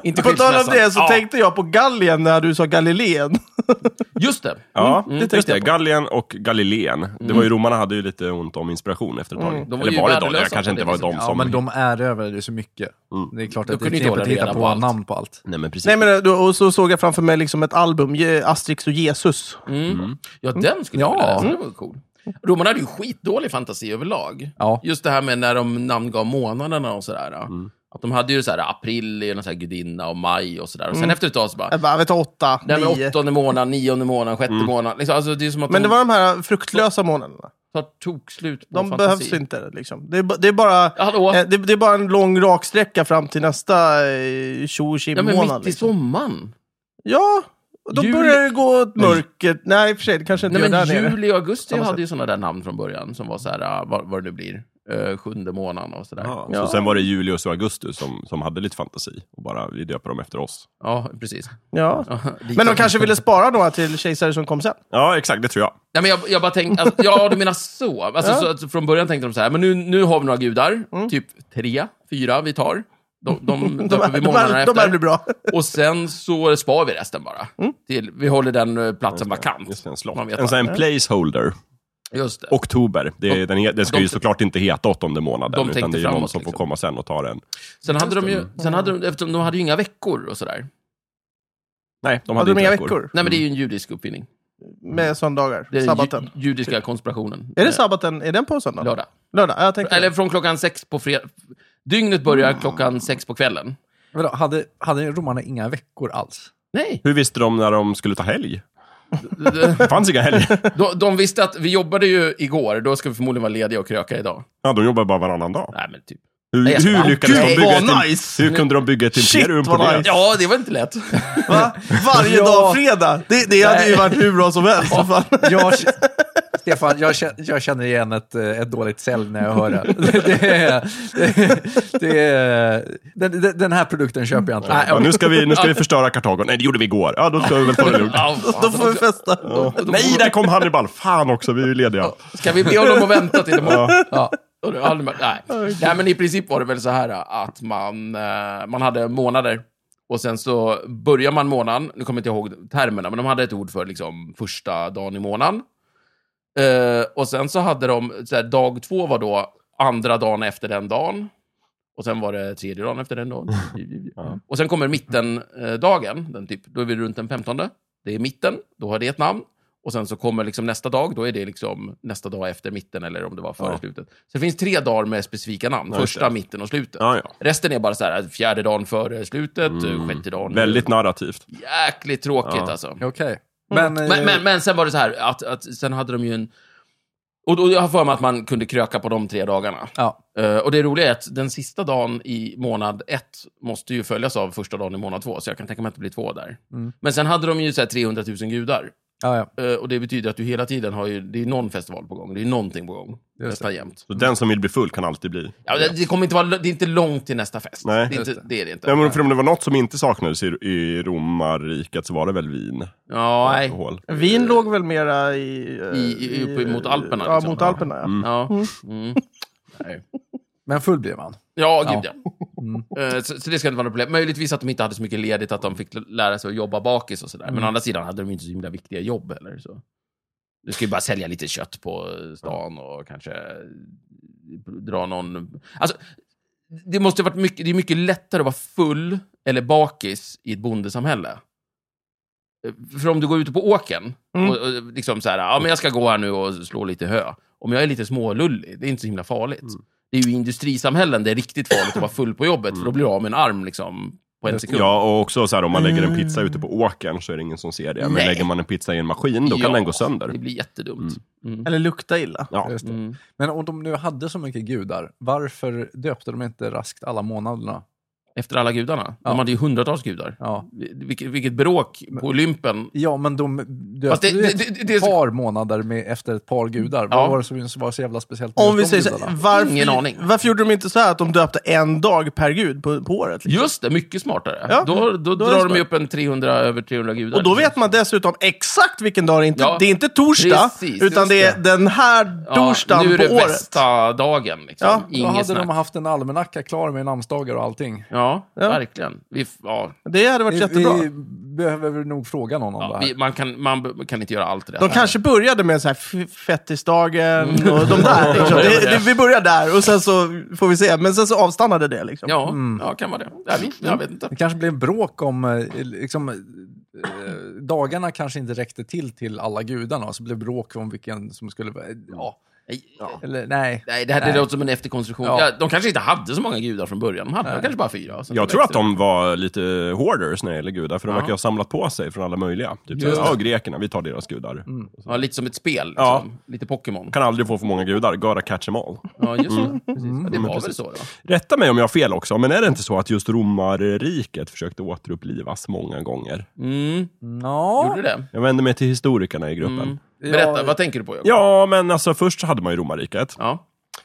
[SPEAKER 2] inte
[SPEAKER 1] På tal om
[SPEAKER 2] skilsmässan.
[SPEAKER 1] det så
[SPEAKER 2] ja,
[SPEAKER 1] tänkte jag på Gallien när du sa Galileen.
[SPEAKER 2] Mm. Just det. Mm.
[SPEAKER 3] Ja,
[SPEAKER 1] det
[SPEAKER 3] just
[SPEAKER 1] tänkte
[SPEAKER 3] det.
[SPEAKER 1] jag
[SPEAKER 3] Gallien och Galileen. Det var ju romarna hade ju lite ont om inspiration efter ett tag.
[SPEAKER 2] de var ju
[SPEAKER 3] Eller var det de?
[SPEAKER 2] värdelösa
[SPEAKER 3] Det kanske
[SPEAKER 2] på
[SPEAKER 3] inte
[SPEAKER 2] det
[SPEAKER 3] var
[SPEAKER 2] viset.
[SPEAKER 3] de
[SPEAKER 4] Ja,
[SPEAKER 3] som...
[SPEAKER 4] men de erövrade ju så mycket.
[SPEAKER 2] Mm.
[SPEAKER 4] Det är klart att det
[SPEAKER 2] kunde inte
[SPEAKER 4] är knepigt
[SPEAKER 2] hålla
[SPEAKER 4] att
[SPEAKER 2] reda
[SPEAKER 4] hitta
[SPEAKER 2] på
[SPEAKER 4] på
[SPEAKER 2] allt.
[SPEAKER 4] namn på allt.
[SPEAKER 3] Nej, men precis.
[SPEAKER 1] Nej, men, eh, då- och så såg jag framför mig liksom ett album, Je- Asterix och Jesus.
[SPEAKER 2] Mm. Ja, den skulle jag
[SPEAKER 4] Ja.
[SPEAKER 2] vilja läsa. Den var cool. Romarna hade ju skitdålig fantasi överlag.
[SPEAKER 4] Ja.
[SPEAKER 2] Just det här med när de namngav månaderna och sådär.
[SPEAKER 1] Mm.
[SPEAKER 2] Att de hade ju så här, april är någon så här gudinna och maj och sådär. Och sen
[SPEAKER 1] Mm.
[SPEAKER 2] efter ett tag så bara,
[SPEAKER 1] Jag bara, vet du, åtta,
[SPEAKER 2] nej men
[SPEAKER 1] nio.
[SPEAKER 2] åttonde månaden, nionde månaden, sjätte månaden. Liksom, alltså, det är som att
[SPEAKER 1] Mm. Men det
[SPEAKER 2] de
[SPEAKER 1] var de här fruktlösa månaderna.
[SPEAKER 2] tar tokslut på
[SPEAKER 1] De
[SPEAKER 2] fantasi.
[SPEAKER 1] behövs inte. Liksom. Det, är, ba- det, är bara,
[SPEAKER 2] Ja, hallå?
[SPEAKER 1] eh, det, det är bara en lång raksträcka fram till nästa eh, tjo och
[SPEAKER 2] Ja,
[SPEAKER 1] tjim
[SPEAKER 2] men
[SPEAKER 1] månad.
[SPEAKER 2] mitt i
[SPEAKER 1] Liksom.
[SPEAKER 2] sommaren.
[SPEAKER 1] Ja, och då
[SPEAKER 2] Jul-
[SPEAKER 1] börjar det gå åt mörkret. Nej, i och för sig, det kanske inte
[SPEAKER 2] Nej,
[SPEAKER 1] gör
[SPEAKER 2] men
[SPEAKER 1] där nere.
[SPEAKER 2] juli och augusti
[SPEAKER 1] Samma
[SPEAKER 2] hade
[SPEAKER 1] sätt.
[SPEAKER 2] ju sådana där namn från början som var så här, ah, vad, vad det nu blir, eh, sjunde månaden och sådär.
[SPEAKER 3] Ja,
[SPEAKER 2] Ja,
[SPEAKER 3] Så sen var det Julius och Augustus som, som hade lite fantasi. Och bara, vi döper dem efter oss.
[SPEAKER 2] precis.
[SPEAKER 1] Ja.
[SPEAKER 2] Ja, lite-
[SPEAKER 1] Men de kanske ville spara några till kejsare som kom sen.
[SPEAKER 3] Ja, exakt. Det tror jag.
[SPEAKER 2] Nej, men jag, jag bara tänkte, alltså, ja du menar så. Alltså,
[SPEAKER 1] Ja. Mm.
[SPEAKER 2] så att från början tänkte de så här, men nu, nu har vi några gudar, typ tre, fyra vi tar. De, de,
[SPEAKER 1] De
[SPEAKER 2] döper
[SPEAKER 1] här,
[SPEAKER 2] vi
[SPEAKER 1] de
[SPEAKER 2] månaderna
[SPEAKER 1] här, de här
[SPEAKER 2] efter.
[SPEAKER 1] blir bra. Mm.
[SPEAKER 2] Och sen så spar vi resten bara. Till, vi håller den eh, platsen vakant.
[SPEAKER 3] Just det, en slott.
[SPEAKER 2] Man vet
[SPEAKER 3] En, sån här, en placeholder.
[SPEAKER 2] Just det.
[SPEAKER 3] Oktober. Det, är- den, he- den ska
[SPEAKER 2] de-
[SPEAKER 3] ju såklart inte heta åttonde
[SPEAKER 2] De
[SPEAKER 3] månaden. utan det är
[SPEAKER 2] tänkte
[SPEAKER 3] ju någon
[SPEAKER 2] framåt,
[SPEAKER 3] som får
[SPEAKER 2] liksom.
[SPEAKER 3] komma sen och ta den.
[SPEAKER 2] Sen hade de ju, sen hade de, eftersom de hade ju inga veckor och sådär.
[SPEAKER 3] Nej, de hade
[SPEAKER 1] Hade de
[SPEAKER 3] inte
[SPEAKER 1] inga
[SPEAKER 3] veckor.
[SPEAKER 1] veckor
[SPEAKER 2] Nej, men det är ju en judisk uppfinning.
[SPEAKER 1] med söndagar?
[SPEAKER 2] Det är den
[SPEAKER 1] Sabbaten?
[SPEAKER 2] ju, judiska konspirationen.
[SPEAKER 1] Är det
[SPEAKER 2] Eh,
[SPEAKER 1] sabbaten? Är den på söndag?
[SPEAKER 2] Lördag.
[SPEAKER 1] Lördag? Ja, jag tänkte
[SPEAKER 2] Eller från klockan sex på fredag. Dygnet börjar klockan sex på kvällen.
[SPEAKER 4] Men då, hade, hade romarna inga veckor alls?
[SPEAKER 2] Nej,
[SPEAKER 3] Hur visste de när de skulle ta helg? Det fanns inga helger.
[SPEAKER 2] de, de visste att vi jobbade ju igår, då ska vi förmodligen vara lediga och kröka idag.
[SPEAKER 3] Ja, de jobbar bara varannan dag.
[SPEAKER 2] Nej, men typ.
[SPEAKER 3] Hur,
[SPEAKER 2] Nej, jag ska-
[SPEAKER 3] hur lyckades
[SPEAKER 1] Gud,
[SPEAKER 3] de bygga
[SPEAKER 1] vad
[SPEAKER 3] ett,
[SPEAKER 1] nice!
[SPEAKER 3] hur kunde de bygga ett
[SPEAKER 1] Shit,
[SPEAKER 3] imperium på
[SPEAKER 1] vad
[SPEAKER 3] det?
[SPEAKER 1] nice!
[SPEAKER 2] Ja, det var inte lätt.
[SPEAKER 1] Va? Varje
[SPEAKER 4] Ja.
[SPEAKER 1] dag fredag? Det, det hade ju
[SPEAKER 2] Nej.
[SPEAKER 1] varit hur bra som helst. vad fan.
[SPEAKER 4] Jag, Stefan, jag känner, jag känner igen ett, eh, ett dåligt sälj när jag hör det. det, är- det, är- den, den- den här produkten köper jag inte.
[SPEAKER 2] Nej,
[SPEAKER 3] Ja, nu ska vi, nu ska vi förstöra Kartago. Nej, det gjorde vi igår. Ja, då ska vi väl ta det lugnt.
[SPEAKER 2] Ja, fan.
[SPEAKER 1] Då får vi festa.
[SPEAKER 3] Nej, där kom Hannibal. Fan också, vi är ju lediga.
[SPEAKER 2] Ska vi be honom att vänta till imorgon? Ja. Och då hade man- Nej. Nej, men i princip var det väl så här äh, att man, eh, man hade månader. Och sen så börjar man månaden, nu kommer jag inte ihåg termerna, men de hade ett ord för liksom första dagen i månaden. Eh, och sen så hade de, så här, dag två var då andra dagen efter den dagen. Och sen var det tredje dagen efter den dagen. Och sen kommer mittendagen, den typ, då är vi runt den 15. Det är mitten, då har det ett namn. Och sen så kommer liksom nästa dag, då är det liksom nästa dag efter mitten eller om det var före
[SPEAKER 3] Ja.
[SPEAKER 2] slutet. Så det finns tre dagar med specifika namn,
[SPEAKER 3] Ja, just
[SPEAKER 2] första,
[SPEAKER 3] det.
[SPEAKER 2] mitten och slutet.
[SPEAKER 3] Ja, ja.
[SPEAKER 2] Resten är bara så här, fjärde dagen före slutet, sjätte dagen.
[SPEAKER 3] Väldigt narrativt.
[SPEAKER 2] Jäkligt tråkigt
[SPEAKER 3] Ja.
[SPEAKER 2] alltså.
[SPEAKER 4] Okej. Men,
[SPEAKER 2] Mm. Men,
[SPEAKER 4] eh,
[SPEAKER 2] men, men sen var det så här, att, att sen hade de ju en... Och då, jag har för mig att man kunde kröka på de tre dagarna.
[SPEAKER 4] Ja.
[SPEAKER 2] Eh, och det roliga är att den sista dagen i månad ett måste ju följas av första dagen i månad två, så jag kan tänka mig att det blir två där.
[SPEAKER 4] Mm.
[SPEAKER 2] Men sen hade de ju så här 300 000 gudar.
[SPEAKER 4] Ja, ja.
[SPEAKER 2] Eh, och det betyder att du hela tiden har ju, det är någon festival på gång, det är någonting på gång. Nästan jämt.
[SPEAKER 3] Så den som vill bli full kan alltid bli.
[SPEAKER 2] Ja, det, det kommer inte vara, det är inte långt till nästa fest.
[SPEAKER 3] Nej.
[SPEAKER 2] det, är inte,
[SPEAKER 4] Just
[SPEAKER 2] det.
[SPEAKER 4] det.
[SPEAKER 2] är det inte.
[SPEAKER 3] Ja, men för om det var något som inte saknades i, i romarriket så var det väl vin?
[SPEAKER 2] Ja, nej.
[SPEAKER 3] Alkohol.
[SPEAKER 1] Vin låg väl mera i... eh,
[SPEAKER 2] I- i- uppe mot Alperna,
[SPEAKER 1] Ja,
[SPEAKER 2] liksom.
[SPEAKER 1] mot Alperna. Ja.
[SPEAKER 2] Ja. Mm. Nej.
[SPEAKER 4] men full blir man.
[SPEAKER 2] Ja, gud ja.
[SPEAKER 4] Mm.
[SPEAKER 2] Eh, Så, så det ska inte vara något problem. Möjligtvis att de inte hade så mycket ledigt, att de fick lära sig att jobba bakis och sådär. Men å andra sidan hade de ju inte så himla viktiga jobb heller. Så. Du ska ju bara sälja lite kött på stan och kanske dra någon... Alltså, det måste ha varit mycket, det är mycket lättare att vara full eller bakis i ett bondesamhälle. Eh, För om du går ute på åken
[SPEAKER 1] Mm.
[SPEAKER 2] och, och liksom så här, ja men jag ska gå här nu och slå lite hö. Om jag är lite smålullig, det är inte så himla farligt.
[SPEAKER 3] Mm.
[SPEAKER 2] Det är ju i industrisamhällen det är riktigt farligt att vara full på jobbet, för då blir du av med en arm liksom på en sekund.
[SPEAKER 3] Mm. Ja, och också så här, om man lägger en pizza ute på åkern så är det ingen som ser det. Men
[SPEAKER 2] Nej.
[SPEAKER 3] lägger man en pizza i en maskin, då kan
[SPEAKER 2] Ja,
[SPEAKER 3] den gå
[SPEAKER 2] Det
[SPEAKER 3] sönder.
[SPEAKER 2] blir jättedumt. Mm.
[SPEAKER 1] Eller lukta illa.
[SPEAKER 3] Ja.
[SPEAKER 4] Just det.
[SPEAKER 2] Mm.
[SPEAKER 4] Men om de nu hade så mycket gudar, varför döpte de inte raskt alla månaderna?
[SPEAKER 2] efter alla gudarna. De hade ju hundratals gudar.
[SPEAKER 4] Ja.
[SPEAKER 2] Vilket, vilket bråk på Olympen.
[SPEAKER 4] Ja, men de döpte
[SPEAKER 2] Fast det-
[SPEAKER 4] ju ett
[SPEAKER 2] det- det- det är så-
[SPEAKER 4] par månader med, efter ett par gudar.
[SPEAKER 2] Ja.
[SPEAKER 4] Vad var det som som var så jävla speciellt med
[SPEAKER 1] Om vi
[SPEAKER 4] just de
[SPEAKER 1] säger så, här,
[SPEAKER 4] gudarna?
[SPEAKER 1] varför,
[SPEAKER 2] Ingen aning.
[SPEAKER 1] varför gjorde de inte så här att de döpte en dag per gud på, på året? liksom?
[SPEAKER 2] Just det, mycket smartare.
[SPEAKER 1] Ja.
[SPEAKER 2] Då, då,
[SPEAKER 1] Då är det
[SPEAKER 2] drar de
[SPEAKER 1] smart.
[SPEAKER 2] ju upp en 300, över 300 gudar.
[SPEAKER 1] Och då vet man dessutom exakt vilken dag det är. Inte,
[SPEAKER 2] Ja.
[SPEAKER 1] det är inte torsdag,
[SPEAKER 2] Precis,
[SPEAKER 1] utan
[SPEAKER 2] just
[SPEAKER 1] det är den här torsdagen
[SPEAKER 2] nu är det
[SPEAKER 1] på året.
[SPEAKER 2] bästa dagen. Liksom.
[SPEAKER 1] Ja, då
[SPEAKER 2] Inget
[SPEAKER 4] Då hade
[SPEAKER 2] snack.
[SPEAKER 4] de haft en almanacka klar med namnsdagar och allting.
[SPEAKER 2] Ja,
[SPEAKER 1] Ja.
[SPEAKER 2] verkligen. Vi, f- ja,
[SPEAKER 1] Det hade varit
[SPEAKER 4] Vi,
[SPEAKER 1] jättebra.
[SPEAKER 4] vi behöver väl nog fråga någon om det
[SPEAKER 2] ja,
[SPEAKER 4] här.
[SPEAKER 2] vi, man, kan, man b- kan inte göra allt rätt.
[SPEAKER 1] De kanske började med så här f- fettisdagen
[SPEAKER 3] Mm.
[SPEAKER 1] och de där. Liksom. Det, det, vi börjar där och sen så får vi se. Men sen så avstannade det. Liksom.
[SPEAKER 2] Ja, ja, kan vara det. Nej, vi, jag vet inte.
[SPEAKER 4] Det kanske blir en bråk om... eh, Liksom, eh, dagarna kanske inte räckte till till alla gudarna, så blev det bråk om vilken som skulle... vara- Ja,
[SPEAKER 2] Nej,
[SPEAKER 4] eller nej.
[SPEAKER 2] Nej, det här det låter som en efterkonstruktion.
[SPEAKER 4] Ja.
[SPEAKER 2] Ja. de kanske inte hade så många gudar från början. De hade kanske bara fyra. Sen
[SPEAKER 3] Jag
[SPEAKER 2] så
[SPEAKER 3] tror att
[SPEAKER 2] växte
[SPEAKER 3] de var lite hoarders när det gäller gudar, för de verkar ha samlat på sig från alla möjliga. Typ såhär, ja, grekerna, vi tar deras gudar.
[SPEAKER 2] det. Ja, lite som ett spel. Liksom.
[SPEAKER 3] Ja.
[SPEAKER 2] Lite Pokémon.
[SPEAKER 3] Kan aldrig få för många gudar, gotta catch them all.
[SPEAKER 2] Ja, just det. Precis. Ja, det var väl
[SPEAKER 3] precis.
[SPEAKER 2] så då.
[SPEAKER 3] Rätta mig om jag har fel också, men är det inte så att just romarriket försökte återupplivas många gånger?
[SPEAKER 2] Mm,
[SPEAKER 4] Nå,
[SPEAKER 2] gjorde det.
[SPEAKER 3] Jag vänder mig till historikerna i gruppen.
[SPEAKER 2] Mm. Berätta,
[SPEAKER 4] Ja.
[SPEAKER 2] vad tänker du på? Jakob?
[SPEAKER 3] Ja, men alltså först så hade man ju romarriket.
[SPEAKER 2] Ja. Mm,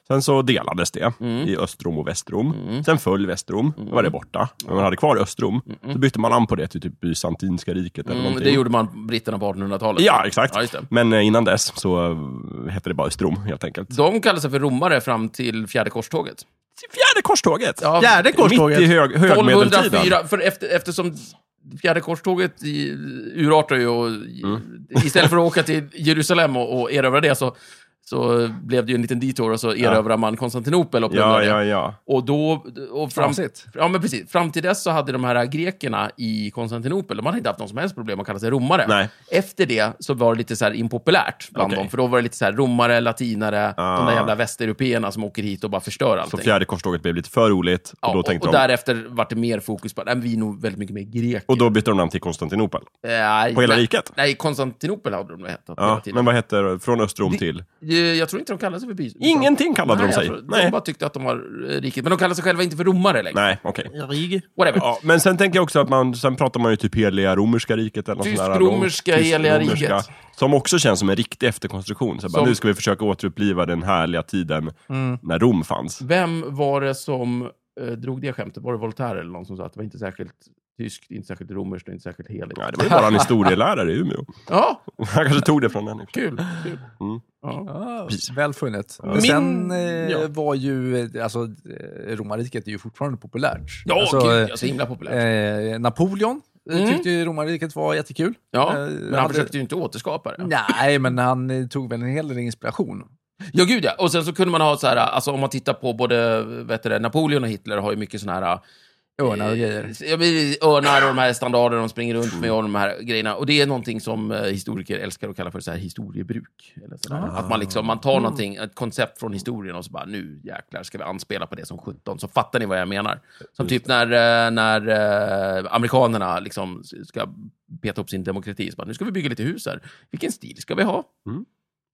[SPEAKER 3] Sen så delades det i Östrom och Västrom.
[SPEAKER 2] Mm.
[SPEAKER 3] Sen föll Västrom, då var det borta. Men man hade kvar Östrom, så bytte man namn på det till typ Bysantinska riket eller
[SPEAKER 2] Mm,
[SPEAKER 3] någonting.
[SPEAKER 2] det gjorde man britterna på 1800-talet.
[SPEAKER 3] Ja, exakt.
[SPEAKER 2] Ja, just det.
[SPEAKER 3] Men eh, innan dess så eh, hette det bara Östrom, helt enkelt.
[SPEAKER 2] De kallade sig för romare fram till fjärde korståget.
[SPEAKER 3] Fjärde korståget!
[SPEAKER 2] Ja,
[SPEAKER 1] Fjärde korståget.
[SPEAKER 3] Mitt i hög, högmedeltiden.
[SPEAKER 2] 1204, för efter, eftersom fjärde korståget i, urartar ju och
[SPEAKER 3] Mm.
[SPEAKER 2] istället för att åka till Jerusalem och, och erövra det så, så blev det ju en liten detour och så erövrar man Konstantinopel och plundrar
[SPEAKER 3] Ja,
[SPEAKER 2] det.
[SPEAKER 3] ja, ja.
[SPEAKER 2] Och då... Och fram,
[SPEAKER 4] Transit.
[SPEAKER 2] ja, men precis. Fram till dess så hade de här grekerna i Konstantinopel, de hade inte haft någon som helst problem att kalla sig romare.
[SPEAKER 3] Nej.
[SPEAKER 2] Efter det så var det lite så här impopulärt bland
[SPEAKER 3] Okej.
[SPEAKER 2] dem, för då var det lite så här romare, latinare, de
[SPEAKER 3] Ah.
[SPEAKER 2] där jävla västeuropeerna som åker hit och bara förstör
[SPEAKER 3] Så
[SPEAKER 2] allting.
[SPEAKER 3] fjärde korståget blev lite för roligt. Och,
[SPEAKER 2] Ja,
[SPEAKER 3] då tänkte
[SPEAKER 2] och, och
[SPEAKER 3] de,
[SPEAKER 2] därefter vart det mer fokus på, nej, men vi är nog väldigt mycket mer greker. Eh,
[SPEAKER 3] och då bytte de namn till Konstantinopel.
[SPEAKER 2] nej,
[SPEAKER 3] på hela
[SPEAKER 2] nej,
[SPEAKER 3] riket?
[SPEAKER 2] Nej, Konstantinopel hade de hetat hela
[SPEAKER 3] Ja,
[SPEAKER 2] tiden.
[SPEAKER 3] men vad heter Från Östrom till?
[SPEAKER 2] Eh, Jag tror inte de kallade sig för by.
[SPEAKER 3] Ingenting kallade
[SPEAKER 2] nej,
[SPEAKER 3] de
[SPEAKER 2] jag
[SPEAKER 3] sig.
[SPEAKER 2] tror- De
[SPEAKER 3] Nej,
[SPEAKER 2] bara tyckte att de var eh, riket. Men de kallade sig själva inte för romare längre.
[SPEAKER 3] nej okej.
[SPEAKER 1] Rig.
[SPEAKER 2] Whatever.
[SPEAKER 3] Ja, men sen tänker jag också att man, sen pratar man ju typ heliga romerska riket eller något sånt där.
[SPEAKER 2] Tysk-romerska heliga
[SPEAKER 3] Tysk-romerska,
[SPEAKER 2] riket.
[SPEAKER 3] Som också känns som en riktig efterkonstruktion. Så bara,
[SPEAKER 2] Som- Mm.
[SPEAKER 3] nu ska vi försöka återuppliva den härliga tiden när Rom fanns.
[SPEAKER 2] Vem var det som eh, drog det skämtet? Var det Voltaire eller någon som sa att det var inte särskilt tyskt, inte särskilt romerskt och inte särskilt heligt?
[SPEAKER 3] Ja, det var ju bara en historielärare i Umeå.
[SPEAKER 2] Ja,
[SPEAKER 3] Han kanske tog det från den.
[SPEAKER 2] kul. kul. Ja.
[SPEAKER 4] Ah, väl funnet.
[SPEAKER 3] Ja.
[SPEAKER 4] Men Sen eh,
[SPEAKER 1] Min- ja.
[SPEAKER 4] var ju, eh, alltså eh, romarriket är ju fortfarande populärt.
[SPEAKER 2] Ja,
[SPEAKER 4] alltså,
[SPEAKER 2] gud,
[SPEAKER 4] eh,
[SPEAKER 2] ja, så himla populärt.
[SPEAKER 4] eh, Napoleon eh,
[SPEAKER 2] Mm.
[SPEAKER 4] tyckte ju romarriket var jättekul.
[SPEAKER 2] ja,
[SPEAKER 4] eh,
[SPEAKER 2] men han
[SPEAKER 4] hade-
[SPEAKER 2] försökte ju inte återskapa det.
[SPEAKER 4] Nej, men han eh, tog väl en hel del inspiration.
[SPEAKER 2] Ja, gud ja. Och sen så kunde man ha så här, alltså om man tittar på både vet du, det, Napoleon och Hitler har ju mycket sån här...
[SPEAKER 4] Örnar och grejer.
[SPEAKER 2] Eh, Ja, men örnar och de här standarderna de springer runt med och de här grejerna. Och det är någonting som eh, historiker älskar att kalla för så här historiebruk. Eller så där. Att man, liksom, man tar någonting, ett koncept från historien och så bara nu jäklar ska vi anspela på det som 17. Så fattar ni vad jag menar. Som typ när, eh, när eh, amerikanerna liksom ska peta upp sin demokrati. Så bara, nu ska vi bygga lite hus här. Vilken stil ska vi ha?
[SPEAKER 3] Mm.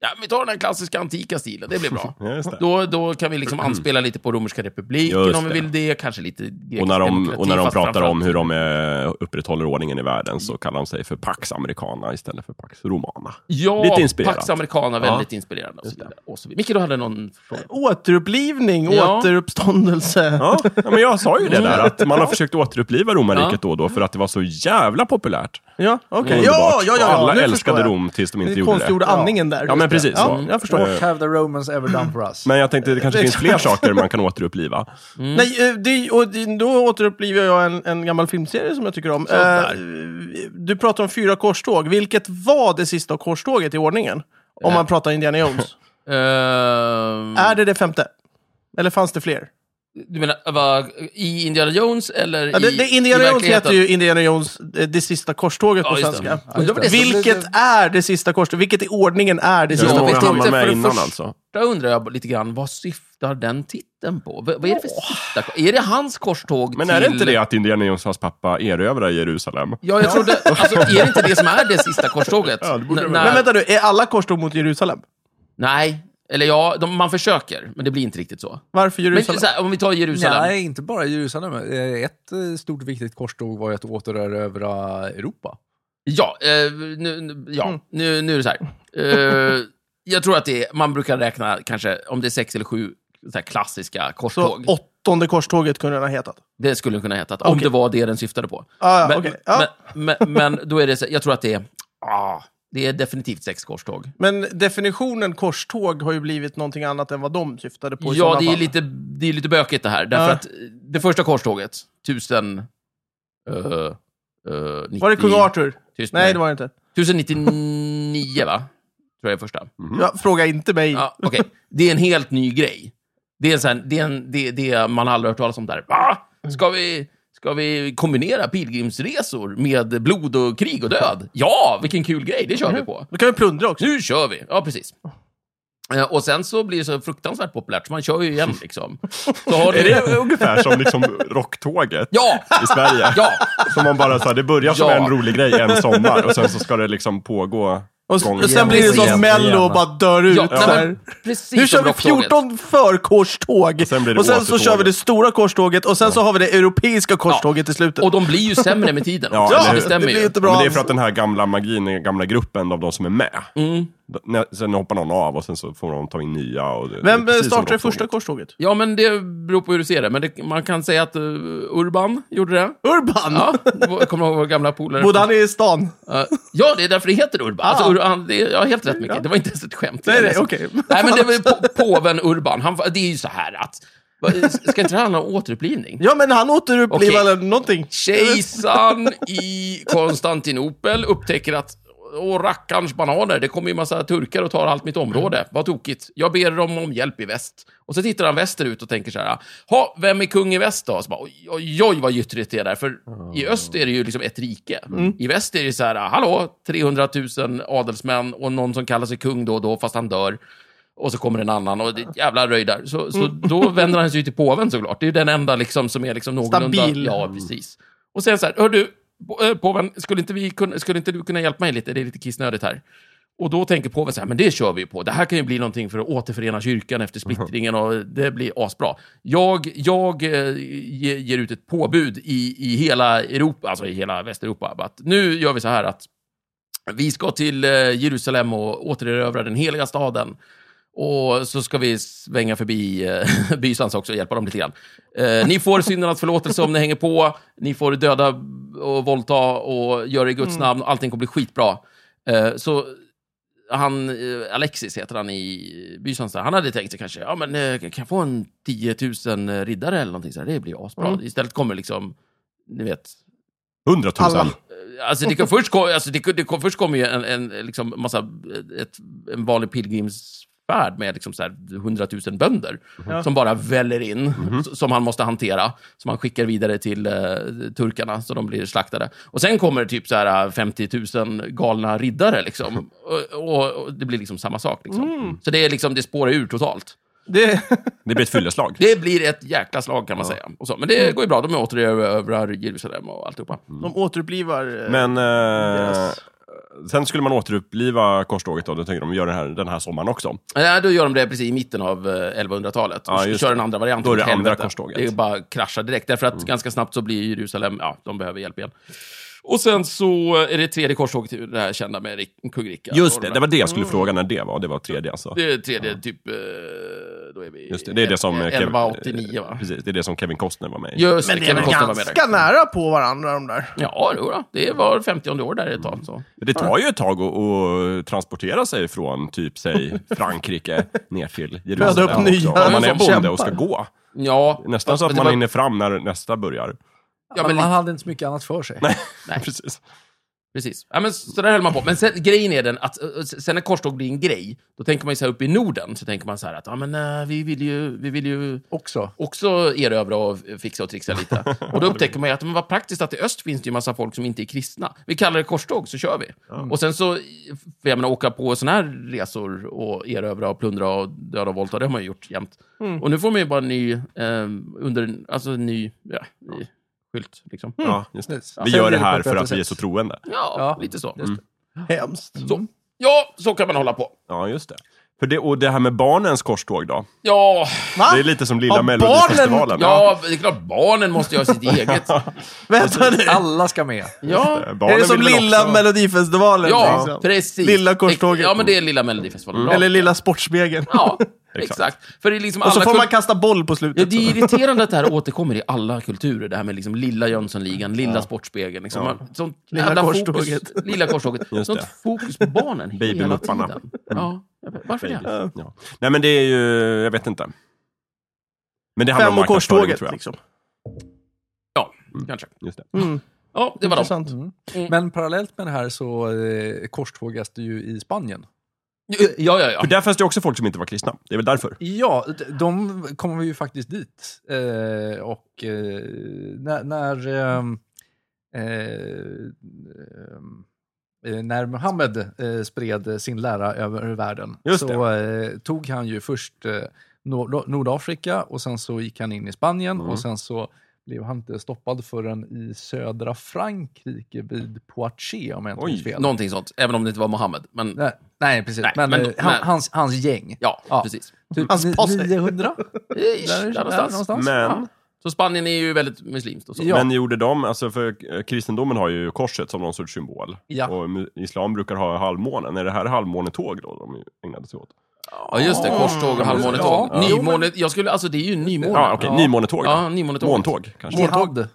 [SPEAKER 2] Ja, vi tar den här klassiska antika stilen, det blir bra.
[SPEAKER 3] Ja, just det.
[SPEAKER 2] Då, då kan vi liksom anspela lite på romerska republiken
[SPEAKER 3] Mm. Just
[SPEAKER 2] om vi
[SPEAKER 3] det.
[SPEAKER 2] vill det, kanske lite grekisk
[SPEAKER 3] Och när de,
[SPEAKER 2] demokrati,
[SPEAKER 3] och när de
[SPEAKER 2] fast
[SPEAKER 3] pratar
[SPEAKER 2] framförallt-
[SPEAKER 3] om hur de eh, upprätthåller ordningen i världen så kallar de sig för Pax Americana istället för Pax Romana.
[SPEAKER 2] Ja,
[SPEAKER 3] Lite inspirerat.
[SPEAKER 2] Pax Americana, väldigt inspirerande. Och så vidare. Och så vidare. Micke, du hade någon fråga?
[SPEAKER 1] Återupplivning,
[SPEAKER 2] Ja.
[SPEAKER 1] återuppståndelse.
[SPEAKER 3] Ja, ja, men jag sa ju det där att man har försökt återuppliva romarriket då och då för att det var så jävla populärt.
[SPEAKER 1] Ja, okej.
[SPEAKER 3] Mm. Underbart.
[SPEAKER 1] Ja, ja, ja,
[SPEAKER 3] Och Alla
[SPEAKER 1] nu
[SPEAKER 3] älskade
[SPEAKER 1] förstår jag.
[SPEAKER 3] Rom tills de inte
[SPEAKER 1] Det
[SPEAKER 3] gjorde det.
[SPEAKER 1] konstgjorda andningen där.
[SPEAKER 3] Ja, men precis
[SPEAKER 1] Ja,
[SPEAKER 3] så.
[SPEAKER 1] jag förstår.
[SPEAKER 3] Eh,
[SPEAKER 4] What have the Romans ever done for us?
[SPEAKER 3] Men jag tänkte det kanske finns
[SPEAKER 1] Exakt.
[SPEAKER 3] fler saker man kan återuppliva.
[SPEAKER 1] Nej, eh, det, och det- då återupplivar jag en, en gammal filmserie som jag tycker om.
[SPEAKER 2] Sådär.
[SPEAKER 1] Eh, du pratar om fyra korståg. Vilket var det sista korståget i ordningen?
[SPEAKER 3] Eh.
[SPEAKER 1] Om man pratar Indiana Jones.
[SPEAKER 2] Ehm,
[SPEAKER 1] Är det det femte? Eller fanns det fler?
[SPEAKER 2] Du menar vad, i Indiana Jones eller
[SPEAKER 1] Ja, det,
[SPEAKER 2] i,
[SPEAKER 1] det,
[SPEAKER 2] i
[SPEAKER 1] Indiana Jones
[SPEAKER 2] verkligheten?
[SPEAKER 1] heter ju Indiana Jones, eh, det sista korståget
[SPEAKER 2] Ja,
[SPEAKER 1] på
[SPEAKER 2] just det.
[SPEAKER 1] svenska.
[SPEAKER 2] Ja, just det.
[SPEAKER 1] Vilket är det sista korståget? Vilket i ordningen är det
[SPEAKER 2] Ja,
[SPEAKER 1] sista
[SPEAKER 3] Hur många
[SPEAKER 2] visst,
[SPEAKER 1] korståget?
[SPEAKER 2] hamnar
[SPEAKER 3] hamnade
[SPEAKER 2] för
[SPEAKER 3] med
[SPEAKER 2] det
[SPEAKER 3] innan
[SPEAKER 2] första-
[SPEAKER 3] alltså?
[SPEAKER 2] Där undrar jag lite grann, vad syftar den titeln på? Vad, vad är det för sista? Är det hans korståg
[SPEAKER 3] Men
[SPEAKER 2] till...
[SPEAKER 3] är det inte det att Indiana Jones hans pappa erövrar Jerusalem?
[SPEAKER 2] Ja, jag trodde... Alltså, är det inte det som är det sista korståget?
[SPEAKER 3] Ja, det borde
[SPEAKER 2] N-
[SPEAKER 3] det
[SPEAKER 2] när-
[SPEAKER 3] vara.
[SPEAKER 1] Men vänta nu, är alla korståg mot Jerusalem?
[SPEAKER 2] Nej, Eller ja, de, man försöker, men det blir inte riktigt så.
[SPEAKER 1] Varför
[SPEAKER 2] Men
[SPEAKER 1] Jerusalem?
[SPEAKER 2] så här, om vi tar Jerusalem.
[SPEAKER 4] Nej, inte bara Jerusalem. Eh, Ett eh, stort viktigt korståg var ju att återerövra Europa.
[SPEAKER 2] Ja, eh, nu, nu- ja.
[SPEAKER 1] Mm.
[SPEAKER 2] Nu, nu är det så här. Eh, jag tror att det är, man brukar räkna kanske om det är sex eller sju så här klassiska
[SPEAKER 1] så
[SPEAKER 2] korståg.
[SPEAKER 1] åttonde korståget kunde den ha hetat.
[SPEAKER 2] det skulle den kunna heta, att, om
[SPEAKER 1] Okej.
[SPEAKER 2] det var det den syftade på.
[SPEAKER 1] Ah,
[SPEAKER 2] men,
[SPEAKER 1] men, okay. ja.
[SPEAKER 2] men, men, men då är det så, jag tror att det är, ah, det är definitivt sex korståg.
[SPEAKER 1] men, definitionen korståg har ju blivit någonting annat än vad de syftade på i
[SPEAKER 2] Ja,
[SPEAKER 1] sådana
[SPEAKER 2] det är,
[SPEAKER 1] fall.
[SPEAKER 2] lite, det är lite bökigt det här. Därför
[SPEAKER 1] Ja.
[SPEAKER 2] att eh, det första korståget, tusen... eh, eh, 90,
[SPEAKER 1] Var det kung Arthur?
[SPEAKER 2] Tyst,
[SPEAKER 1] Nej, det var det inte.
[SPEAKER 2] 1099, va? Tror jag är första.
[SPEAKER 1] Ja, fråga inte mig.
[SPEAKER 2] Mm. Ja, okej. Det är en helt ny grej. Det är, så här, det är, en, det, det är man har aldrig hört talas om där. Va? Ska vi, ska vi kombinera pilgrimsresor med blod och krig och död? Ja, vilken kul grej. Det kör vi på.
[SPEAKER 1] Då kan vi plundra också.
[SPEAKER 2] Nu kör vi! Ja, precis. Eh, Och sen så blir det så fruktansvärt populärt, så man kör ju igen liksom. Så har
[SPEAKER 3] Är
[SPEAKER 2] du...
[SPEAKER 3] det ungefär som liksom rocktåget
[SPEAKER 2] Ja!
[SPEAKER 3] i Sverige?
[SPEAKER 2] Ja!
[SPEAKER 3] Som man bara så här, det börjar som
[SPEAKER 2] Ja.
[SPEAKER 3] en rolig grej en sommar och sen så ska det liksom pågå
[SPEAKER 1] Och,
[SPEAKER 3] gång
[SPEAKER 1] och sen blir det
[SPEAKER 4] igen,
[SPEAKER 1] som
[SPEAKER 4] igen,
[SPEAKER 1] Mello
[SPEAKER 4] igen.
[SPEAKER 1] och bara dör ut.
[SPEAKER 2] ja
[SPEAKER 1] så
[SPEAKER 2] nej,
[SPEAKER 1] här.
[SPEAKER 2] men, precis
[SPEAKER 1] Nu kör
[SPEAKER 2] som
[SPEAKER 1] vi
[SPEAKER 2] Rocktåget.
[SPEAKER 1] 14 förkorståg.
[SPEAKER 3] sen blir det
[SPEAKER 1] och sen så
[SPEAKER 3] återtåget.
[SPEAKER 1] kör vi det stora korståget och sen så har vi det europeiska korståget i slutet.
[SPEAKER 2] Och de blir ju sämre med tiden
[SPEAKER 3] Ja,
[SPEAKER 2] också.
[SPEAKER 3] eller
[SPEAKER 2] det
[SPEAKER 3] hur?
[SPEAKER 1] det
[SPEAKER 2] stämmer
[SPEAKER 1] blir
[SPEAKER 2] ju.
[SPEAKER 1] inte
[SPEAKER 3] Ja,
[SPEAKER 1] bra.
[SPEAKER 3] Men det är för att den här gamla magin, den gamla gruppen av de som är med. D- när- Sen hoppar någon av och sen så får de ta in nya. Och det,
[SPEAKER 1] Vem
[SPEAKER 3] det är
[SPEAKER 1] eh,
[SPEAKER 3] precis som
[SPEAKER 1] startar det
[SPEAKER 3] rocktåget.
[SPEAKER 1] första korståget?
[SPEAKER 2] Ja, men det beror på hur du ser det. Men det, man kan säga att eh, Urban gjorde det.
[SPEAKER 1] Urban!
[SPEAKER 2] Ja, vår- kommer du ihåg vår gamla polare?
[SPEAKER 1] Bodde han i stan?
[SPEAKER 2] Eh, Ja, det är därför det heter Urban. Alltså,
[SPEAKER 1] Ah.
[SPEAKER 2] Urban det, ja, helt rätt mycket. Det var inte ens ett skämt. Alltså,
[SPEAKER 1] Nej, nej, okej.
[SPEAKER 2] Nej, men det var ju på, påven Urban. Han, var- det är ju så här att... va- Ska inte det handla om återupplivning?
[SPEAKER 1] Ja, men han återupplivade någonting.
[SPEAKER 2] Kejsaren i Konstantinopel upptäcker att Åh, rackarns bananer, det kommer ju massa turkar och tar allt mitt område. Vad tokigt. Jag ber dem om hjälp i väst. Och så tittar han västerut och tänker så här, ha, vem är kung i väst då? Och så bara, oj, oj, oj, vad gyttrigt det är där. För i öst är det ju liksom ett rike. I väst är det ju så här, hallå, 300 000 adelsmän och någon som kallar sig kung då och då, fast han dör. Och så kommer en annan och det är ett jävla röj där. Så, så då vänder han sig ju till påven såklart. Det är ju den enda liksom som är liksom någorlunda...
[SPEAKER 1] Stabil.
[SPEAKER 2] Ja, precis. Och sen så här, hör du, på- eh, påven, skulle inte, vi kunna, skulle inte du kunna hjälpa mig lite? Det är lite kissnödigt här. Och då tänker påven så här, men det kör vi ju på. Det här kan ju bli någonting för att återförena kyrkan efter splittringen och det blir asbra. Jag, jag eh, ge- ger ut ett påbud i, i hela Europa, alltså i hela Västeuropa, att nu gör vi så här att vi ska till eh, Jerusalem och återerövra den heliga staden. Och så ska vi svänga förbi eh, Bysans också och hjälpa dem lite grann. Eh, ni får syndernas förlåtelse om ni hänger på. Ni får döda och våldta och göra det i Guds namn. Allting kommer bli skitbra. Eh, så han, eh, Alexis heter han i Bysans, där. han hade tänkt sig kanske, ja men eh, kan jag få en 10 000 riddare eller någonting så här? Det blir asbra.
[SPEAKER 1] Mm.
[SPEAKER 2] Istället kommer liksom, ni vet,
[SPEAKER 3] Hundratusen.
[SPEAKER 1] Alla.
[SPEAKER 2] Alltså, det kom, först kom, alltså, det, kom- det kom, först kom ju en, en, liksom massa, ett, en vanlig pilgrimsfärd med liksom så här 100 000 bönder
[SPEAKER 1] Ja.
[SPEAKER 2] som bara väller in, s- som han måste hantera, som han skickar vidare till eh, turkarna så de blir slaktade. Och sen kommer typ så här eh, 50 000 galna riddare, liksom. och, och, och det blir liksom samma sak. Liksom. Så det, är liksom, det spårar ur totalt.
[SPEAKER 1] Det,
[SPEAKER 3] Det blir ett fylleslag.
[SPEAKER 2] Det blir ett jäkla slag kan man säga. Och så. Men det går ju bra, de återerövrar Jerusalem och alltihopa.
[SPEAKER 1] de återupplivar... eh,
[SPEAKER 3] Men eh,
[SPEAKER 1] Deras-
[SPEAKER 3] sen skulle man återuppliva korståget då, då tänker de gör den här, den här sommaren också.
[SPEAKER 2] Nej, då gör de det precis i mitten av eh, 1100-talet.
[SPEAKER 3] Ja,
[SPEAKER 2] och
[SPEAKER 3] just
[SPEAKER 2] kör
[SPEAKER 3] det.
[SPEAKER 2] en andra variant.
[SPEAKER 3] Då är det
[SPEAKER 2] åt helvete.
[SPEAKER 3] andra korståget. Mm.
[SPEAKER 2] Det är bara kraschar direkt. Därför att ganska snabbt så blir Jerusalem, ja, de behöver hjälp igen. Och sen så är det tredje korståget, det här kända med Rick- kung Rickard.
[SPEAKER 3] Just
[SPEAKER 2] Och
[SPEAKER 3] det,
[SPEAKER 2] de
[SPEAKER 3] det
[SPEAKER 2] där-
[SPEAKER 3] var det jag skulle fråga när det var. Det var tredje alltså.
[SPEAKER 2] det är tredje, typ... eh, Då är vi...
[SPEAKER 3] Just det, det är det som... eh, Kev-
[SPEAKER 2] 1189, va?
[SPEAKER 3] Precis, det är det som Kevin Costner var med i.
[SPEAKER 2] Just
[SPEAKER 1] Men det är väl
[SPEAKER 2] Kevin Costner var med där.
[SPEAKER 1] ganska nära på varandra de där.
[SPEAKER 2] Ja, jo då. det var 50 år där ett tag. Så.
[SPEAKER 3] Det tar ju ett tag att, att transportera sig från typ, säg Frankrike ner till Jerusalem.
[SPEAKER 1] Föda upp
[SPEAKER 3] också.
[SPEAKER 1] nya
[SPEAKER 3] Om man är
[SPEAKER 1] som
[SPEAKER 3] bonde
[SPEAKER 1] kämpar.
[SPEAKER 3] och ska gå.
[SPEAKER 2] Ja,
[SPEAKER 3] Nästan så att
[SPEAKER 2] fast det
[SPEAKER 3] man
[SPEAKER 2] var-
[SPEAKER 3] hinner fram när nästa börjar.
[SPEAKER 2] Ja, men
[SPEAKER 4] men man
[SPEAKER 2] lite-
[SPEAKER 4] hade inte så mycket annat för sig.
[SPEAKER 2] Nej.
[SPEAKER 3] Precis.
[SPEAKER 2] Precis. Ja, men så där höll man på. Men sen, grejen är den att eh, sen när korståg blir en grej, då tänker man ju så här uppe i Norden, så tänker man så här att ja, men, eh, vi, vill ju, vi vill ju
[SPEAKER 4] Också.
[SPEAKER 2] också erövra och fixa och trixa lite. Och då upptäcker man ju att men vad praktiskt att i öst finns det ju massa folk som inte är kristna. Vi kallar det korståg, så kör vi. Och sen så, för jag menar, åka på sådana här resor och erövra och plundra och döda och våldta, det har man ju gjort jämt.
[SPEAKER 4] Mm.
[SPEAKER 2] Och nu får man ju bara en ny, eh, under, en- alltså en ny, ja, ny skylt liksom.
[SPEAKER 1] Mm,
[SPEAKER 3] Ja, just det.
[SPEAKER 4] Ja.
[SPEAKER 3] Vi
[SPEAKER 4] Sen
[SPEAKER 3] gör det
[SPEAKER 4] blir det på
[SPEAKER 3] här
[SPEAKER 4] ett
[SPEAKER 3] för
[SPEAKER 4] bättre
[SPEAKER 3] att vi är
[SPEAKER 4] sätt.
[SPEAKER 3] så troende.
[SPEAKER 2] Ja,
[SPEAKER 4] Mm. Ja.
[SPEAKER 2] lite så.
[SPEAKER 4] Just det.
[SPEAKER 1] Hemskt.
[SPEAKER 2] Så. Ja, så kan man hålla på.
[SPEAKER 3] Ja, just det. För det, och det här med barnens korståg då?
[SPEAKER 2] Ja,
[SPEAKER 1] Va?
[SPEAKER 3] Det är lite som lilla
[SPEAKER 1] Ja,
[SPEAKER 3] Melodifestivalen.
[SPEAKER 2] ja, det är klart barnen måste göra sitt eget.
[SPEAKER 1] Vänta nu.
[SPEAKER 4] Alla ska med.
[SPEAKER 2] Ja,
[SPEAKER 3] Eh,
[SPEAKER 1] Är
[SPEAKER 3] barnen
[SPEAKER 1] det som
[SPEAKER 3] vill väl
[SPEAKER 1] lilla
[SPEAKER 3] också-
[SPEAKER 1] Melodifestivalen?
[SPEAKER 2] ja
[SPEAKER 1] liksom?
[SPEAKER 2] precis.
[SPEAKER 1] Lilla korståget. Mm.
[SPEAKER 2] Ja, men det är lilla Melodifestivalen. Bra.
[SPEAKER 1] Eller lilla Sportspegeln.
[SPEAKER 2] Ja, exakt. För det är liksom
[SPEAKER 1] Och så
[SPEAKER 2] alla
[SPEAKER 1] får
[SPEAKER 2] kul-
[SPEAKER 1] man kasta boll på
[SPEAKER 2] Ja,
[SPEAKER 1] slutet.
[SPEAKER 2] det är irriterande att det här återkommer i alla kulturer, det här med liksom lilla Jönssonligan, lilla Sportspegeln. Liksom. Man, sånt
[SPEAKER 1] Lilla
[SPEAKER 2] jävla
[SPEAKER 1] korståget.
[SPEAKER 2] Fokus, lilla korståget.
[SPEAKER 3] Just
[SPEAKER 2] Sånt
[SPEAKER 3] det.
[SPEAKER 2] fokus på barnen hela
[SPEAKER 3] Babymupparna.
[SPEAKER 2] tiden. Ja, jag vet- varför det?
[SPEAKER 3] Ja. Ja. Nej men det är ju, jag vet inte. Men det handlar om
[SPEAKER 1] Fem och
[SPEAKER 3] marknadsföring
[SPEAKER 1] korståget
[SPEAKER 3] tror jag.
[SPEAKER 1] liksom.
[SPEAKER 2] Ja, kanske.
[SPEAKER 3] Just det.
[SPEAKER 1] Mm,
[SPEAKER 2] Ja, det var dem.
[SPEAKER 1] intressant.
[SPEAKER 4] Mm.
[SPEAKER 2] Mm.
[SPEAKER 4] Men parallellt med det här så eh, korstågas det ju i Spanien.
[SPEAKER 2] Ja, ja, ja.
[SPEAKER 3] För där fanns det också folk som inte var kristna. Det är väl därför.
[SPEAKER 4] Ja, d- de kommer ju faktiskt dit. Eh, och eh, när... När, ehm, eh, ehm, eh, när Muhammed eh, spred sin lära över världen
[SPEAKER 3] Just
[SPEAKER 4] så eh, tog han ju först eh, Nor- Nordafrika och sen så gick han in i Spanien och sen så blev han inte stoppad förrän i södra Frankrike vid Poitiers om jag inte
[SPEAKER 3] Oj,
[SPEAKER 4] minns fel.
[SPEAKER 2] Någonting sånt, även om det inte var Mohammed. Men
[SPEAKER 4] Nej, nej, precis.
[SPEAKER 2] Nej,
[SPEAKER 4] men
[SPEAKER 2] men-
[SPEAKER 4] eh, han,
[SPEAKER 2] men-
[SPEAKER 4] Hans, hans gäng.
[SPEAKER 2] ja,
[SPEAKER 4] Ja.
[SPEAKER 2] precis. Eh,
[SPEAKER 4] Typ
[SPEAKER 1] Hans
[SPEAKER 4] ni-
[SPEAKER 1] posse.
[SPEAKER 4] 900?
[SPEAKER 2] Ish, där,
[SPEAKER 4] Där- där
[SPEAKER 2] någonstans.
[SPEAKER 4] någonstans.
[SPEAKER 3] Men,
[SPEAKER 2] Så Spanien är ju väldigt muslimskt och så.
[SPEAKER 4] Ja.
[SPEAKER 3] men gjorde de, alltså för eh, kristendomen har ju korset som någon sorts symbol.
[SPEAKER 4] Ja.
[SPEAKER 3] Och mu- islam brukar ha halvmånen. Är det här halvmånetåg då de ägnade sig åt?
[SPEAKER 2] Ja, just det. Korståg och halvmånetåg.
[SPEAKER 4] Ja.
[SPEAKER 2] Nymåne... Jag skulle... Alltså, det är ju nymåne.
[SPEAKER 3] Ja, okej. Nymånetåg då.
[SPEAKER 2] Ja, nymånetåg.
[SPEAKER 3] Måntåg kanske.
[SPEAKER 4] Jihad eh,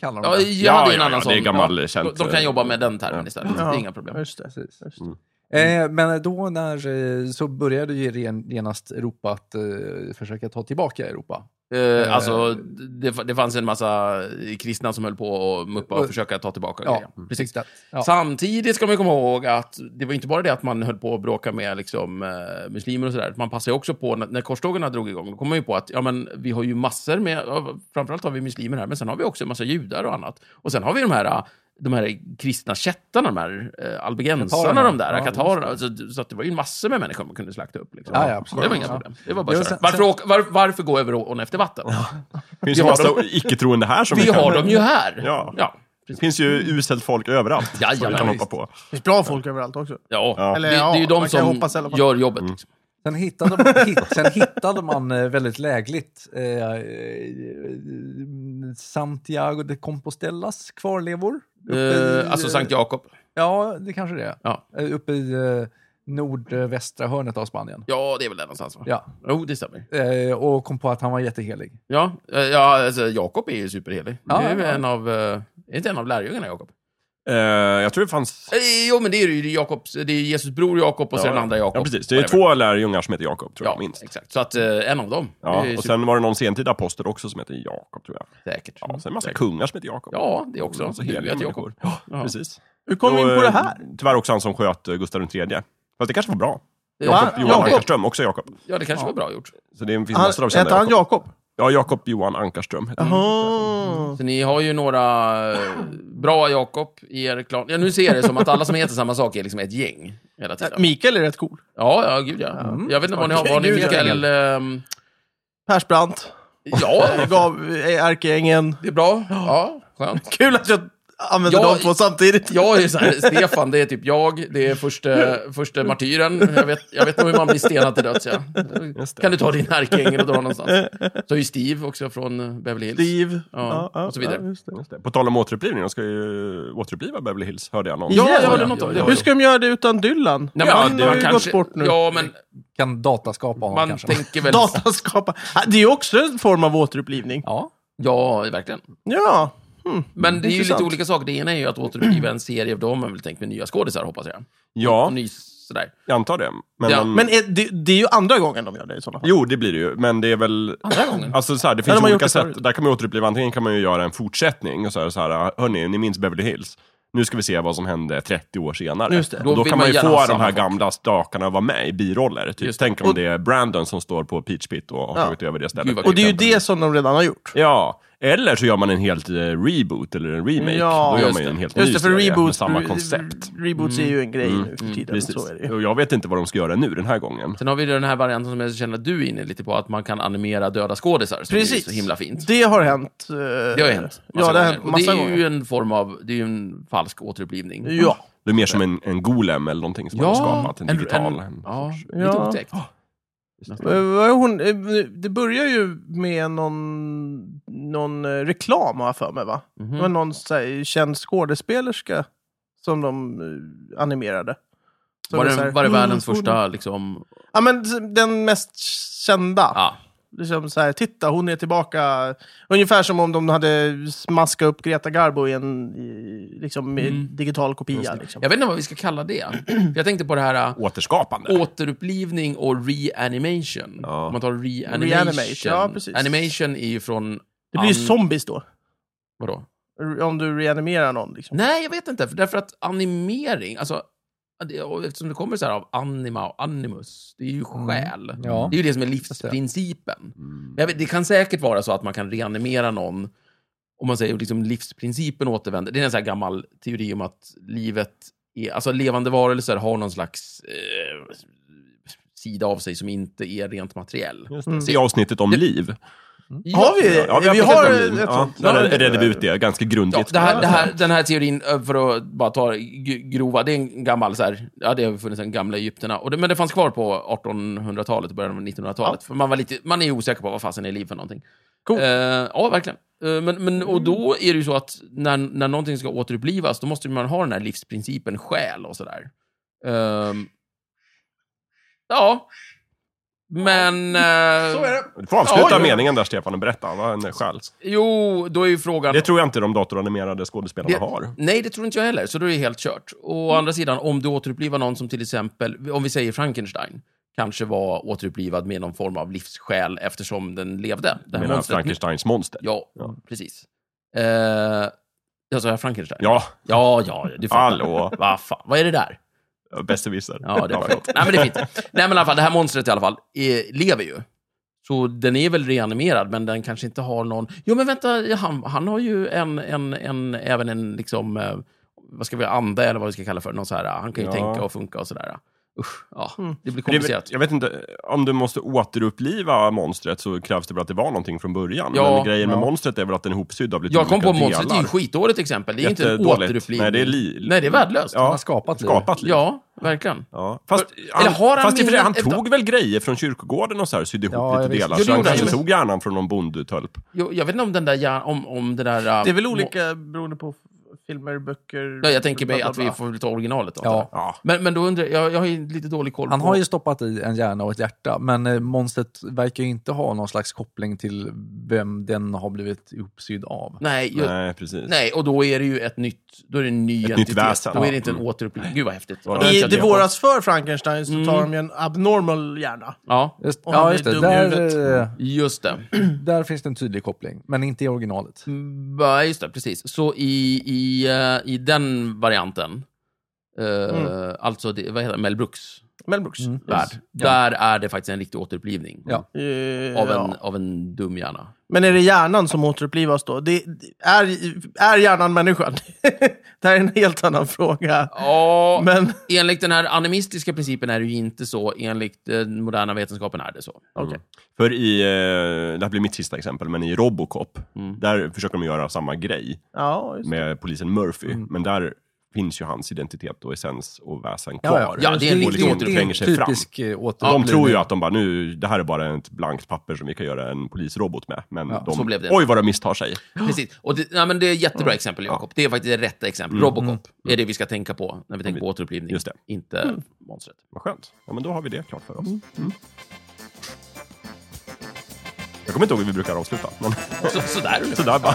[SPEAKER 4] kallar de
[SPEAKER 2] Ja,
[SPEAKER 4] det.
[SPEAKER 2] ja, det är en
[SPEAKER 3] ja,
[SPEAKER 2] annan
[SPEAKER 3] ja,
[SPEAKER 2] sån.
[SPEAKER 3] det är gammal,
[SPEAKER 2] Ja.
[SPEAKER 3] känt,
[SPEAKER 2] de, de kan
[SPEAKER 3] eh,
[SPEAKER 2] jobba med den termen
[SPEAKER 3] ja.
[SPEAKER 2] istället. Det är inga problem.
[SPEAKER 1] Ja, Just det. Just det.
[SPEAKER 4] Eh, men då när, eh, så började ju ren- genast Europa att eh, försöka ta tillbaka Europa.
[SPEAKER 2] Eh, alltså, det, det fanns en massa kristna som höll på och muppa och
[SPEAKER 4] Och-
[SPEAKER 2] försöka ta tillbaka
[SPEAKER 4] Ja,
[SPEAKER 2] grejer. Precis.
[SPEAKER 4] exakt. Ja.
[SPEAKER 2] Samtidigt ska man komma ihåg att det var inte bara det att man höll på att bråka med liksom, eh, muslimer och sådär. Man passade ju också på, när, när korstågen drog igång, då kom man ju på att ja, men, vi har ju massor med, ja, framförallt har vi muslimer här, men sen har vi också en massa judar och annat. Och sen har vi de här, eh, de här kristna kättarna, de här eh, albigensarna,
[SPEAKER 4] Katarerna.
[SPEAKER 2] de där,
[SPEAKER 4] Ja,
[SPEAKER 2] katarerna. Så, så att det var ju massor med människor man kunde slakta upp. Liksom.
[SPEAKER 4] Ja, ja, absolut.
[SPEAKER 2] det var inga
[SPEAKER 4] Ja.
[SPEAKER 2] problem. Det var bara
[SPEAKER 4] Ja,
[SPEAKER 2] att köra.
[SPEAKER 4] sen-
[SPEAKER 2] Varför, åka, var, varför gå över ån efter vatten?
[SPEAKER 3] Det finns
[SPEAKER 2] Vi
[SPEAKER 3] ju
[SPEAKER 2] har
[SPEAKER 3] massa
[SPEAKER 2] dem.
[SPEAKER 3] icke-troende här som
[SPEAKER 2] Vi
[SPEAKER 3] kan-
[SPEAKER 2] har dem ju här.
[SPEAKER 3] Ja.
[SPEAKER 2] ja.
[SPEAKER 3] Det finns ju uselt folk överallt. som vi
[SPEAKER 2] Jajamän,
[SPEAKER 3] kan hoppa
[SPEAKER 2] visst.
[SPEAKER 3] på.
[SPEAKER 1] Det finns bra folk överallt också.
[SPEAKER 2] Ja.
[SPEAKER 3] Ja.
[SPEAKER 2] Det,
[SPEAKER 1] Eller,
[SPEAKER 2] det
[SPEAKER 1] ja,
[SPEAKER 2] är ju
[SPEAKER 1] man
[SPEAKER 2] de
[SPEAKER 1] kan
[SPEAKER 2] som
[SPEAKER 1] hoppas i alla fall.
[SPEAKER 2] gör jobbet. Liksom.
[SPEAKER 4] Sen hittade man, hit, sen hittade man eh, väldigt lägligt eh, eh, Santiago de Compostelas kvarlevor. uppe i,
[SPEAKER 2] Eh, alltså
[SPEAKER 4] eh,
[SPEAKER 2] Sankt Jakob.
[SPEAKER 4] Ja, det kanske det är.
[SPEAKER 2] Ja.
[SPEAKER 4] Eh, Uppe i eh, nordvästra hörnet av Spanien.
[SPEAKER 2] Ja, det är väl där någonstans va?
[SPEAKER 4] Ja.
[SPEAKER 2] Jo, det stämmer.
[SPEAKER 4] Eh, och kom på att han var jättehelig.
[SPEAKER 2] Ja, eh, ja alltså, Jakob är ju superhelig.
[SPEAKER 4] Ja,
[SPEAKER 2] det är ju
[SPEAKER 4] ja, ja.
[SPEAKER 2] en av... eh, Är inte en av lärjungarna Jakob?
[SPEAKER 3] Eh, jag tror det fanns...
[SPEAKER 2] Eh, Jo, men det är ju det är Jakobs... Det är Jesus bror Jakob och så
[SPEAKER 3] Ja.
[SPEAKER 2] den andra Jakob.
[SPEAKER 3] Ja, precis. Det är
[SPEAKER 2] Whatever.
[SPEAKER 3] två lärjungar som heter Jakob, tror jag,
[SPEAKER 2] Ja,
[SPEAKER 3] minst.
[SPEAKER 2] exakt. Så att eh, en av dem.
[SPEAKER 3] Ja,
[SPEAKER 2] det är
[SPEAKER 3] och sen var det någon sentida apostel också som heter Jakob, tror jag.
[SPEAKER 2] säkert.
[SPEAKER 3] Ja, sen en massa kungar som heter Jakob.
[SPEAKER 2] Mm. Ja, det är också.
[SPEAKER 3] Alltså,
[SPEAKER 2] Huvudet
[SPEAKER 3] heliga
[SPEAKER 2] Jakob.
[SPEAKER 3] människor.
[SPEAKER 2] Ja.
[SPEAKER 3] Ja, precis.
[SPEAKER 1] Hur kom vi in på det här?
[SPEAKER 3] eh, Tyvärr också han som sköt eh, Gustav III. Fast det kanske var bra.
[SPEAKER 1] Va?
[SPEAKER 2] Jakob,
[SPEAKER 3] Johan
[SPEAKER 1] Jakob.
[SPEAKER 3] Ankarström, också Jakob.
[SPEAKER 2] Ja, det kanske var bra gjort.
[SPEAKER 3] Så det finns
[SPEAKER 1] Han,
[SPEAKER 3] massor av
[SPEAKER 1] heter
[SPEAKER 3] kända
[SPEAKER 1] han
[SPEAKER 3] Jakob.
[SPEAKER 1] Jakob?
[SPEAKER 3] Ja, Jakob Johan Ankarström. heter han.
[SPEAKER 1] Jaha.
[SPEAKER 2] Så ni har ju några eh, bra Jakob i er klan. Ja, nu ser jag det som att alla som heter samma sak är liksom ett gäng hela tiden.
[SPEAKER 1] Mikael är rätt cool.
[SPEAKER 2] Ja, ja, gud ja. Mm. Jag vet inte vad ni har. Vad har ni
[SPEAKER 1] Gud, ja.
[SPEAKER 2] Mikael? ehm,
[SPEAKER 1] Persbrandt,
[SPEAKER 2] Ja,
[SPEAKER 1] gav eh, Ärkeängen.
[SPEAKER 2] det är bra. Ja, skönt.
[SPEAKER 1] Kul att jag använder
[SPEAKER 2] Ja,
[SPEAKER 1] dem två samtidigt.
[SPEAKER 2] Jag är ju så här, Stefan, det är typ jag, det är första, första martyren. Jag vet, jag vet nog hur man blir stenad till döds, ja. Kan du ta din ärkeängel och dra någonstans? Så är ju Steve också från eh, Beverly Hills.
[SPEAKER 1] Steve.
[SPEAKER 2] Ja, och så vidare.
[SPEAKER 1] just det.
[SPEAKER 3] Just det. På tal om återupplivning, de ska ju återuppliva Beverly Hills, hörde jag någon.
[SPEAKER 2] Ja,
[SPEAKER 1] Ja,
[SPEAKER 2] jag hörde
[SPEAKER 1] ja,
[SPEAKER 2] något om
[SPEAKER 4] ja,
[SPEAKER 2] det.
[SPEAKER 4] ja.
[SPEAKER 1] Hur ska de göra det utan Dylan?
[SPEAKER 2] Nej, men
[SPEAKER 1] han
[SPEAKER 2] man-
[SPEAKER 1] har
[SPEAKER 2] man
[SPEAKER 1] ju
[SPEAKER 2] kanske-
[SPEAKER 1] gått bort nu.
[SPEAKER 2] Ja, men
[SPEAKER 4] Kan dataskapa honom
[SPEAKER 2] man
[SPEAKER 4] kanske.
[SPEAKER 2] tänker väl...
[SPEAKER 1] Dataskapa. Ah, Det är ju också en form av återupplivning.
[SPEAKER 4] Ja.
[SPEAKER 2] Ja, verkligen.
[SPEAKER 1] Ja. Hmm.
[SPEAKER 2] Men det är ju
[SPEAKER 1] Intressant.
[SPEAKER 2] lite olika saker. Det ena är ju att återuppliva en serie, då har man väl tänkt med nya skådisar, hoppas jag.
[SPEAKER 3] Ja,
[SPEAKER 2] Och ny, sådär.
[SPEAKER 3] jag antar det. Men,
[SPEAKER 2] Ja,
[SPEAKER 1] Men är, det, det är ju andra gången de gör det i sådana fall.
[SPEAKER 3] Jo, det blir det ju. Men det är väl...
[SPEAKER 2] Andra gången.
[SPEAKER 3] Alltså så här, det
[SPEAKER 1] Ja,
[SPEAKER 3] finns
[SPEAKER 1] de har gjort
[SPEAKER 3] olika
[SPEAKER 1] det
[SPEAKER 3] sätt.
[SPEAKER 1] förut.
[SPEAKER 3] Där kan man återuppliva, antingen kan man ju göra en fortsättning och så här, så här hörni, ni minns Beverly Hills. Nu ska vi se vad som hände 30 år senare.
[SPEAKER 1] Just det.
[SPEAKER 3] Och
[SPEAKER 2] Då
[SPEAKER 3] då
[SPEAKER 2] vill
[SPEAKER 3] kan
[SPEAKER 2] man
[SPEAKER 3] man ju
[SPEAKER 2] gärna
[SPEAKER 3] få
[SPEAKER 2] ha
[SPEAKER 3] de
[SPEAKER 2] samma
[SPEAKER 3] här
[SPEAKER 2] folk.
[SPEAKER 3] gamla stakarna att vara med i biroller. Typ.
[SPEAKER 2] Just det.
[SPEAKER 3] Tänk om
[SPEAKER 1] Och-
[SPEAKER 3] det är Brandon som står på Peach Pit och har
[SPEAKER 1] Ja.
[SPEAKER 3] tagit över det
[SPEAKER 2] Gud,
[SPEAKER 3] stället.
[SPEAKER 2] vad
[SPEAKER 1] Och det är ju
[SPEAKER 2] exempel.
[SPEAKER 1] det som de redan har gjort.
[SPEAKER 3] Ja, eller så gör man en helt eh, reboot eller en remake.
[SPEAKER 1] Ja,
[SPEAKER 3] då gör
[SPEAKER 2] just
[SPEAKER 3] man ju
[SPEAKER 2] det.
[SPEAKER 3] en helt ny
[SPEAKER 1] Just det, för
[SPEAKER 3] serie med
[SPEAKER 1] reboots,
[SPEAKER 3] samma
[SPEAKER 1] re-
[SPEAKER 3] koncept.
[SPEAKER 1] reboots är ju en grej nu för tiden.
[SPEAKER 3] Precis.
[SPEAKER 1] Så är det ju.
[SPEAKER 3] Och jag vet inte vad de ska göra nu den här gången.
[SPEAKER 2] Sen har vi ju den här varianten som jag känner att du är inne lite på, att man kan animera döda skådisar. som
[SPEAKER 1] Precis.
[SPEAKER 2] är så himla fint.
[SPEAKER 1] Det har hänt. eh,
[SPEAKER 2] Det har ju hänt.
[SPEAKER 1] Ja, det har hänt
[SPEAKER 2] gånger. Och
[SPEAKER 1] massa
[SPEAKER 2] det är
[SPEAKER 1] gånger.
[SPEAKER 2] ju en form av, det är ju en falsk återupplivning.
[SPEAKER 1] Ja.
[SPEAKER 3] Det är mer som en, en golem eller någonting som
[SPEAKER 2] Ja,
[SPEAKER 3] man har skapat. En
[SPEAKER 2] en-
[SPEAKER 3] digital.
[SPEAKER 2] en- Ja, lite
[SPEAKER 1] Ja.
[SPEAKER 2] otäckt.
[SPEAKER 1] Eh, vad är hon, eh, det börjar ju med någon, någon eh, reklam har jag för mig va?
[SPEAKER 2] Mhm.
[SPEAKER 1] Det var någon så här, känd skådespelerska som de eh, animerade. Så
[SPEAKER 2] Var
[SPEAKER 1] det så här, "Mm,
[SPEAKER 2] det, var det världens
[SPEAKER 1] "Hon- hon-"
[SPEAKER 2] första liksom...
[SPEAKER 1] Ja men den mest kända.
[SPEAKER 2] Ja.
[SPEAKER 1] Liksom så här, titta hon är tillbaka. Ungefär som om de hade smaskat upp Greta Garbo i en i, liksom, i
[SPEAKER 2] Mm.
[SPEAKER 1] digital kopia. Liksom.
[SPEAKER 2] Jag vet inte vad vi ska kalla det. För jag tänkte på det här äh,
[SPEAKER 3] Återskapande.
[SPEAKER 2] återupplivning och reanimation.
[SPEAKER 3] Ja.
[SPEAKER 2] Om man tar reanimation.
[SPEAKER 1] Reanimation, ja, precis.
[SPEAKER 2] Animation är ju från...
[SPEAKER 1] Det blir ju
[SPEAKER 2] an-
[SPEAKER 1] zombies då.
[SPEAKER 2] Vadå?
[SPEAKER 1] Om du reanimerar någon. Liksom.
[SPEAKER 2] Nej, jag vet inte. För därför att animering, alltså... det- och Eftersom det kommer så här av anima och animus, det är ju
[SPEAKER 1] Mm.
[SPEAKER 2] själ.
[SPEAKER 4] Ja.
[SPEAKER 2] Det är ju det som är livsprincipen.
[SPEAKER 3] Mm.
[SPEAKER 2] Men jag vet, det kan säkert vara så att man kan reanimera någon om man säger liksom livsprincipen återvänder. Det är en sån här gammal teori om att livet är, alltså levande varelser har någon slags eh, sida av sig som inte är rent materiell.
[SPEAKER 3] Just det. Se avsnittet om liv.
[SPEAKER 1] Har vi?
[SPEAKER 3] Ja, vi har,
[SPEAKER 1] har
[SPEAKER 3] pratat om
[SPEAKER 1] ett
[SPEAKER 3] liv. Ja,
[SPEAKER 1] sånt.
[SPEAKER 3] där är- redde vi ut det ganska
[SPEAKER 2] Ja,
[SPEAKER 3] grundligt.
[SPEAKER 2] det här, det här, den här teorin, eh, för att bara ta det g- grova, det är en gammal så här, ja det har funnits en gamla Egypterna, och det, men det fanns kvar på 1800-talet och början av 1900-talet. För man var lite, man är ju osäker på vad fasen är liv för någonting.
[SPEAKER 1] Coolt.
[SPEAKER 2] Eh, ja, verkligen. Eh, men, men, och då är det ju så att när, när någonting ska återupplivas, då måste man ha den här livsprincipen själ och sådär. Ehm, ja. Men... eh,
[SPEAKER 1] Så är det.
[SPEAKER 3] Du får avsluta
[SPEAKER 2] Ja, ja.
[SPEAKER 3] meningen där Stefan och berätta. Vad en själ.
[SPEAKER 2] Jo, då är ju frågan...
[SPEAKER 3] Det tror jag inte de datoranimerade skådespelarna
[SPEAKER 2] Det-
[SPEAKER 3] har.
[SPEAKER 2] Nej, det tror inte jag heller, så då är det helt kört. Och å
[SPEAKER 3] Mm.
[SPEAKER 2] andra sidan, om du återupplivar någon som till exempel, om vi säger Frankenstein, kanske var återupplivad med någon form av livsskäl eftersom den levde. Det här
[SPEAKER 3] Medan
[SPEAKER 2] monstret-
[SPEAKER 3] Frankensteins monster.
[SPEAKER 2] Ja,
[SPEAKER 3] Ja.
[SPEAKER 2] precis. Eh, jag sa jag Frankenstein?
[SPEAKER 3] Ja,
[SPEAKER 2] ja, ja du fattar.
[SPEAKER 3] Hallå.
[SPEAKER 2] Va fan, vad är det där?
[SPEAKER 3] besserwisser.
[SPEAKER 2] Ja, det är
[SPEAKER 3] förlåt.
[SPEAKER 2] fint. Nej, men det är fint. Nej, men i alla fall, det här monstret i alla fall eh, lever ju. Så den är väl reanimerad, men den kanske inte har någon... Jo, men vänta, han, han har ju en, en, en, även en liksom... Eh, vad ska vi anda eller vad vi ska kalla för? Någon så här, eh, han kan ju
[SPEAKER 3] Ja.
[SPEAKER 2] tänka och funka och sådär. eh. Usch, ja.
[SPEAKER 1] Mm.
[SPEAKER 2] Det
[SPEAKER 3] Men
[SPEAKER 2] blir
[SPEAKER 3] det är väl-
[SPEAKER 2] komplicerat.
[SPEAKER 3] Jag vet inte, om du måste återuppliva monstret så krävs det väl att det var någonting från början.
[SPEAKER 2] Ja.
[SPEAKER 3] Men grejen med
[SPEAKER 4] Ja.
[SPEAKER 3] monstret är väl att den är ihopsydd av lite
[SPEAKER 2] Jag kom på
[SPEAKER 3] olika
[SPEAKER 2] monstret, det är
[SPEAKER 3] delar.
[SPEAKER 2] ju skitdåligt exempel. Det är ju inte en
[SPEAKER 3] Jättedåligt.
[SPEAKER 2] återupplivning.
[SPEAKER 3] Nej, det är li-
[SPEAKER 2] Nej, det är värdelöst.
[SPEAKER 4] Han
[SPEAKER 2] Ja,
[SPEAKER 4] har skapat liv.
[SPEAKER 3] Skapat liv.
[SPEAKER 2] verkligen.
[SPEAKER 3] Ja. Fast,
[SPEAKER 2] För-
[SPEAKER 3] han,
[SPEAKER 2] eller har han
[SPEAKER 3] fast i och för sig, han
[SPEAKER 2] minnen-
[SPEAKER 3] tog väl grejer från kyrkogården och så här, sydde ihop
[SPEAKER 4] Ja,
[SPEAKER 3] lite
[SPEAKER 4] visst.
[SPEAKER 3] delar.
[SPEAKER 2] Jo,
[SPEAKER 3] Så
[SPEAKER 2] det
[SPEAKER 3] han
[SPEAKER 2] gjorde
[SPEAKER 3] kanske
[SPEAKER 2] han.
[SPEAKER 3] tog hjärnan från någon bondetölp.
[SPEAKER 2] Jag, jag vet inte om den där... hjär- Om, om det där eh,
[SPEAKER 1] Det är väl
[SPEAKER 2] mo-
[SPEAKER 1] olika beroende på f- filmer, böcker...
[SPEAKER 2] Ja, jag tänker mig
[SPEAKER 1] bla, bla,
[SPEAKER 2] att vi
[SPEAKER 1] bla.
[SPEAKER 2] får ta originalet. Då,
[SPEAKER 4] Ja.
[SPEAKER 3] Ja.
[SPEAKER 2] Men, men då undrar jag, jag har ju lite dålig koll
[SPEAKER 4] Han
[SPEAKER 2] på...
[SPEAKER 4] har ju stoppat i en hjärna och ett hjärta, men eh, monstret verkar ju inte ha någon slags koppling till vem den har blivit uppsydd av.
[SPEAKER 2] Nej, ju... nej.
[SPEAKER 3] Nej, precis.
[SPEAKER 2] och då är det ju ett nytt... Då är det en ny
[SPEAKER 3] Ett nytt
[SPEAKER 2] identitet.
[SPEAKER 3] väsen.
[SPEAKER 2] Då är
[SPEAKER 3] Ja.
[SPEAKER 2] det inte en
[SPEAKER 3] Mm.
[SPEAKER 2] återupplivning. Gud vad häftigt.
[SPEAKER 3] Ja,
[SPEAKER 2] Den
[SPEAKER 1] I
[SPEAKER 2] kan
[SPEAKER 1] Det
[SPEAKER 2] leva.
[SPEAKER 1] våras för Frankenstein så tar
[SPEAKER 2] Mm.
[SPEAKER 1] de ju en abnormal hjärna.
[SPEAKER 2] Ja,
[SPEAKER 4] Just,
[SPEAKER 1] Om han
[SPEAKER 4] ja,
[SPEAKER 1] blir
[SPEAKER 4] just det.
[SPEAKER 1] dum i
[SPEAKER 4] Där,
[SPEAKER 1] huvudet.
[SPEAKER 4] eh,
[SPEAKER 2] just det.
[SPEAKER 4] där finns det en tydlig koppling, men inte i originalet.
[SPEAKER 2] Mm, Ja, just det. Precis. Så i, i, eh, i den varianten, eh,
[SPEAKER 1] Mm.
[SPEAKER 2] alltså det, vad heter det? Mel Brooks
[SPEAKER 1] Mel Brooks.
[SPEAKER 4] Mm.
[SPEAKER 2] värld, där är det faktiskt en riktig återupplivning
[SPEAKER 4] Ja.
[SPEAKER 1] Eh,
[SPEAKER 2] av, en,
[SPEAKER 1] ja.
[SPEAKER 2] av en dum hjärna.
[SPEAKER 1] Men är det hjärnan som återupplivas då? Det, det- är, är hjärnan människan? det här är en helt annan fråga.
[SPEAKER 2] Ja,
[SPEAKER 1] Men
[SPEAKER 2] enligt den här animistiska principen är det ju inte så. Enligt den moderna vetenskapen är det så.
[SPEAKER 1] okej.
[SPEAKER 3] För i, eh, det här blir mitt sista exempel, men i Robocop,
[SPEAKER 2] Mm.
[SPEAKER 3] där försöker de göra samma grej
[SPEAKER 1] ja, just.
[SPEAKER 3] med polisen Murphy.
[SPEAKER 4] Mm.
[SPEAKER 3] Men där finns ju hans identitet och essens och väsen
[SPEAKER 4] Ja,
[SPEAKER 3] kvar.
[SPEAKER 4] ja.
[SPEAKER 2] Ja, det är en
[SPEAKER 3] Och
[SPEAKER 2] riktig
[SPEAKER 3] liksom
[SPEAKER 2] återupplivning.
[SPEAKER 3] tränger sig fram.
[SPEAKER 4] typisk eh, återupplivning.
[SPEAKER 3] De tror ju att de bara, nu, det här är bara ett blankt papper som vi kan göra en polisrobot med. Men
[SPEAKER 4] Ja,
[SPEAKER 3] de,
[SPEAKER 2] så blev det.
[SPEAKER 3] oj vad de misstar sig.
[SPEAKER 2] Precis. Och det, ja, men det är ett jättebra exempel, Jakob. Det är faktiskt det rätta exemplet.
[SPEAKER 3] Mm,
[SPEAKER 2] Robocop är det vi ska tänka på när vi tänker på återupplivning.
[SPEAKER 3] Just det. Mm.
[SPEAKER 2] Inte monstret.
[SPEAKER 3] Vad skönt. Ja, men då har vi det klart för oss. Mm. Jag kommer inte ihåg hur vi brukar avsluta, men
[SPEAKER 2] Så, sådär ungefär.
[SPEAKER 3] sådär bara.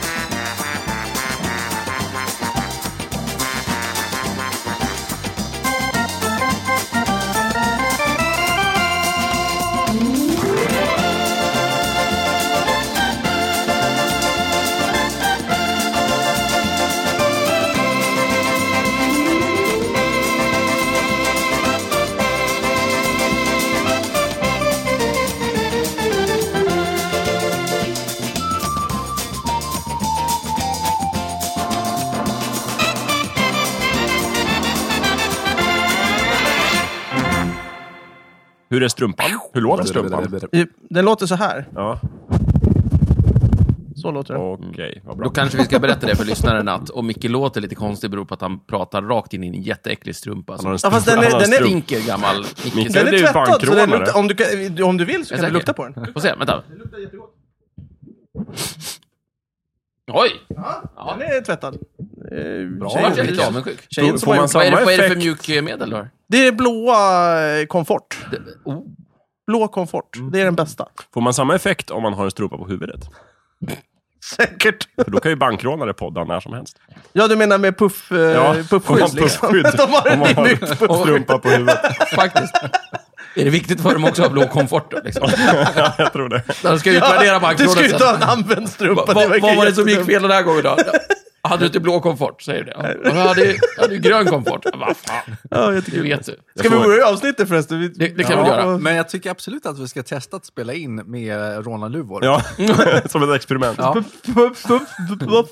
[SPEAKER 3] Hur är strumpan? Hur låter strumpan?
[SPEAKER 1] Den låter så här.
[SPEAKER 3] Ja,
[SPEAKER 1] Så låter den.
[SPEAKER 3] okej. Vad
[SPEAKER 2] Då
[SPEAKER 3] bra.
[SPEAKER 2] kanske vi ska berätta det för lyssnaren att om Micke låter lite konstig beror på att han pratar rakt in i en jätteäcklig strumpa.
[SPEAKER 3] Han har
[SPEAKER 2] Som
[SPEAKER 3] en
[SPEAKER 1] Ja, fast
[SPEAKER 3] stor-
[SPEAKER 1] den är-
[SPEAKER 3] han har en
[SPEAKER 1] den är
[SPEAKER 3] stor-
[SPEAKER 2] stinker gammal Micke.
[SPEAKER 3] Micke.
[SPEAKER 1] Den
[SPEAKER 2] Jag
[SPEAKER 3] det är
[SPEAKER 1] är
[SPEAKER 3] ju
[SPEAKER 1] tvättad, så den
[SPEAKER 3] bankkronor.
[SPEAKER 1] luktar, om, du kan, om du vill så kan du
[SPEAKER 2] säker.
[SPEAKER 1] lukta på den.
[SPEAKER 2] Får se, vänta. Oj!
[SPEAKER 1] Ja. Den är tvättad. Eh,
[SPEAKER 2] Då vart jag
[SPEAKER 1] tjejen-
[SPEAKER 2] lite avundsjuk.
[SPEAKER 1] tjejen som
[SPEAKER 3] Får
[SPEAKER 1] har
[SPEAKER 3] man
[SPEAKER 1] gjort-
[SPEAKER 2] Vad är, det,
[SPEAKER 3] Samma
[SPEAKER 2] vad är det för
[SPEAKER 3] effekt.
[SPEAKER 2] mjukmedel du har?
[SPEAKER 1] Det är blåa eh, komfort.
[SPEAKER 2] Det- Oh. Mm.
[SPEAKER 1] Blå komfort. Det är den bästa.
[SPEAKER 3] Får man samma effekt om man har en strumpa på huvudet?
[SPEAKER 1] Säkert.
[SPEAKER 3] För då kan ju bankrånare podda när som helst.
[SPEAKER 1] Ja, du menar med puff, eh,
[SPEAKER 3] om man
[SPEAKER 1] puffskydd? Liksom.
[SPEAKER 3] puffskydd.
[SPEAKER 1] De har
[SPEAKER 3] Om
[SPEAKER 1] en
[SPEAKER 3] man
[SPEAKER 1] ny
[SPEAKER 3] har
[SPEAKER 1] nytt puffskydd.
[SPEAKER 3] strumpa på huvudet.
[SPEAKER 2] Faktiskt. Är det viktigt för dem också att ha blå komfort då? Liksom?
[SPEAKER 3] Ja, jag tror det.
[SPEAKER 2] När de ska utvärdera
[SPEAKER 1] Du ska
[SPEAKER 2] bankrånet
[SPEAKER 1] ju inte ha en
[SPEAKER 2] sen.
[SPEAKER 1] använd
[SPEAKER 2] Va-
[SPEAKER 1] strumpa.
[SPEAKER 2] va- Vad
[SPEAKER 1] verkar
[SPEAKER 2] var det som gick
[SPEAKER 1] jättedumt.
[SPEAKER 2] fel den här gången då? Hade du inte blå komfort? Säger du det. Ja. Du hade, ju- hade ju grön komfort. Ja, Vad fan,
[SPEAKER 1] Ja,
[SPEAKER 2] det
[SPEAKER 1] jättekul.
[SPEAKER 2] vet du.
[SPEAKER 1] Ska vi
[SPEAKER 3] får-
[SPEAKER 1] börja avsnittet förresten? Vi-
[SPEAKER 2] Det- det kan vi göra.
[SPEAKER 4] Men jag tycker absolut att vi ska testa att spela in med rånarluvor.
[SPEAKER 3] Ja, som ett experiment.
[SPEAKER 4] Ja.
[SPEAKER 1] Puff, puff, puff, puff.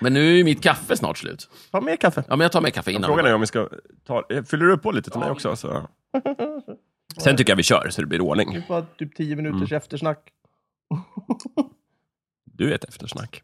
[SPEAKER 2] Men nu är ju mitt kaffe snart slut.
[SPEAKER 1] Ta mer kaffe.
[SPEAKER 2] Ja, men jag tar med kaffe innan.
[SPEAKER 3] Frågan är om vi ska ta... eh, Fyller du på lite till mig också? Så. Sen tycker jag vi kör så det blir ordning.
[SPEAKER 1] Bara
[SPEAKER 2] Mm.
[SPEAKER 1] typ 10 minuters eftersnack.
[SPEAKER 3] Du är ett eftersnack.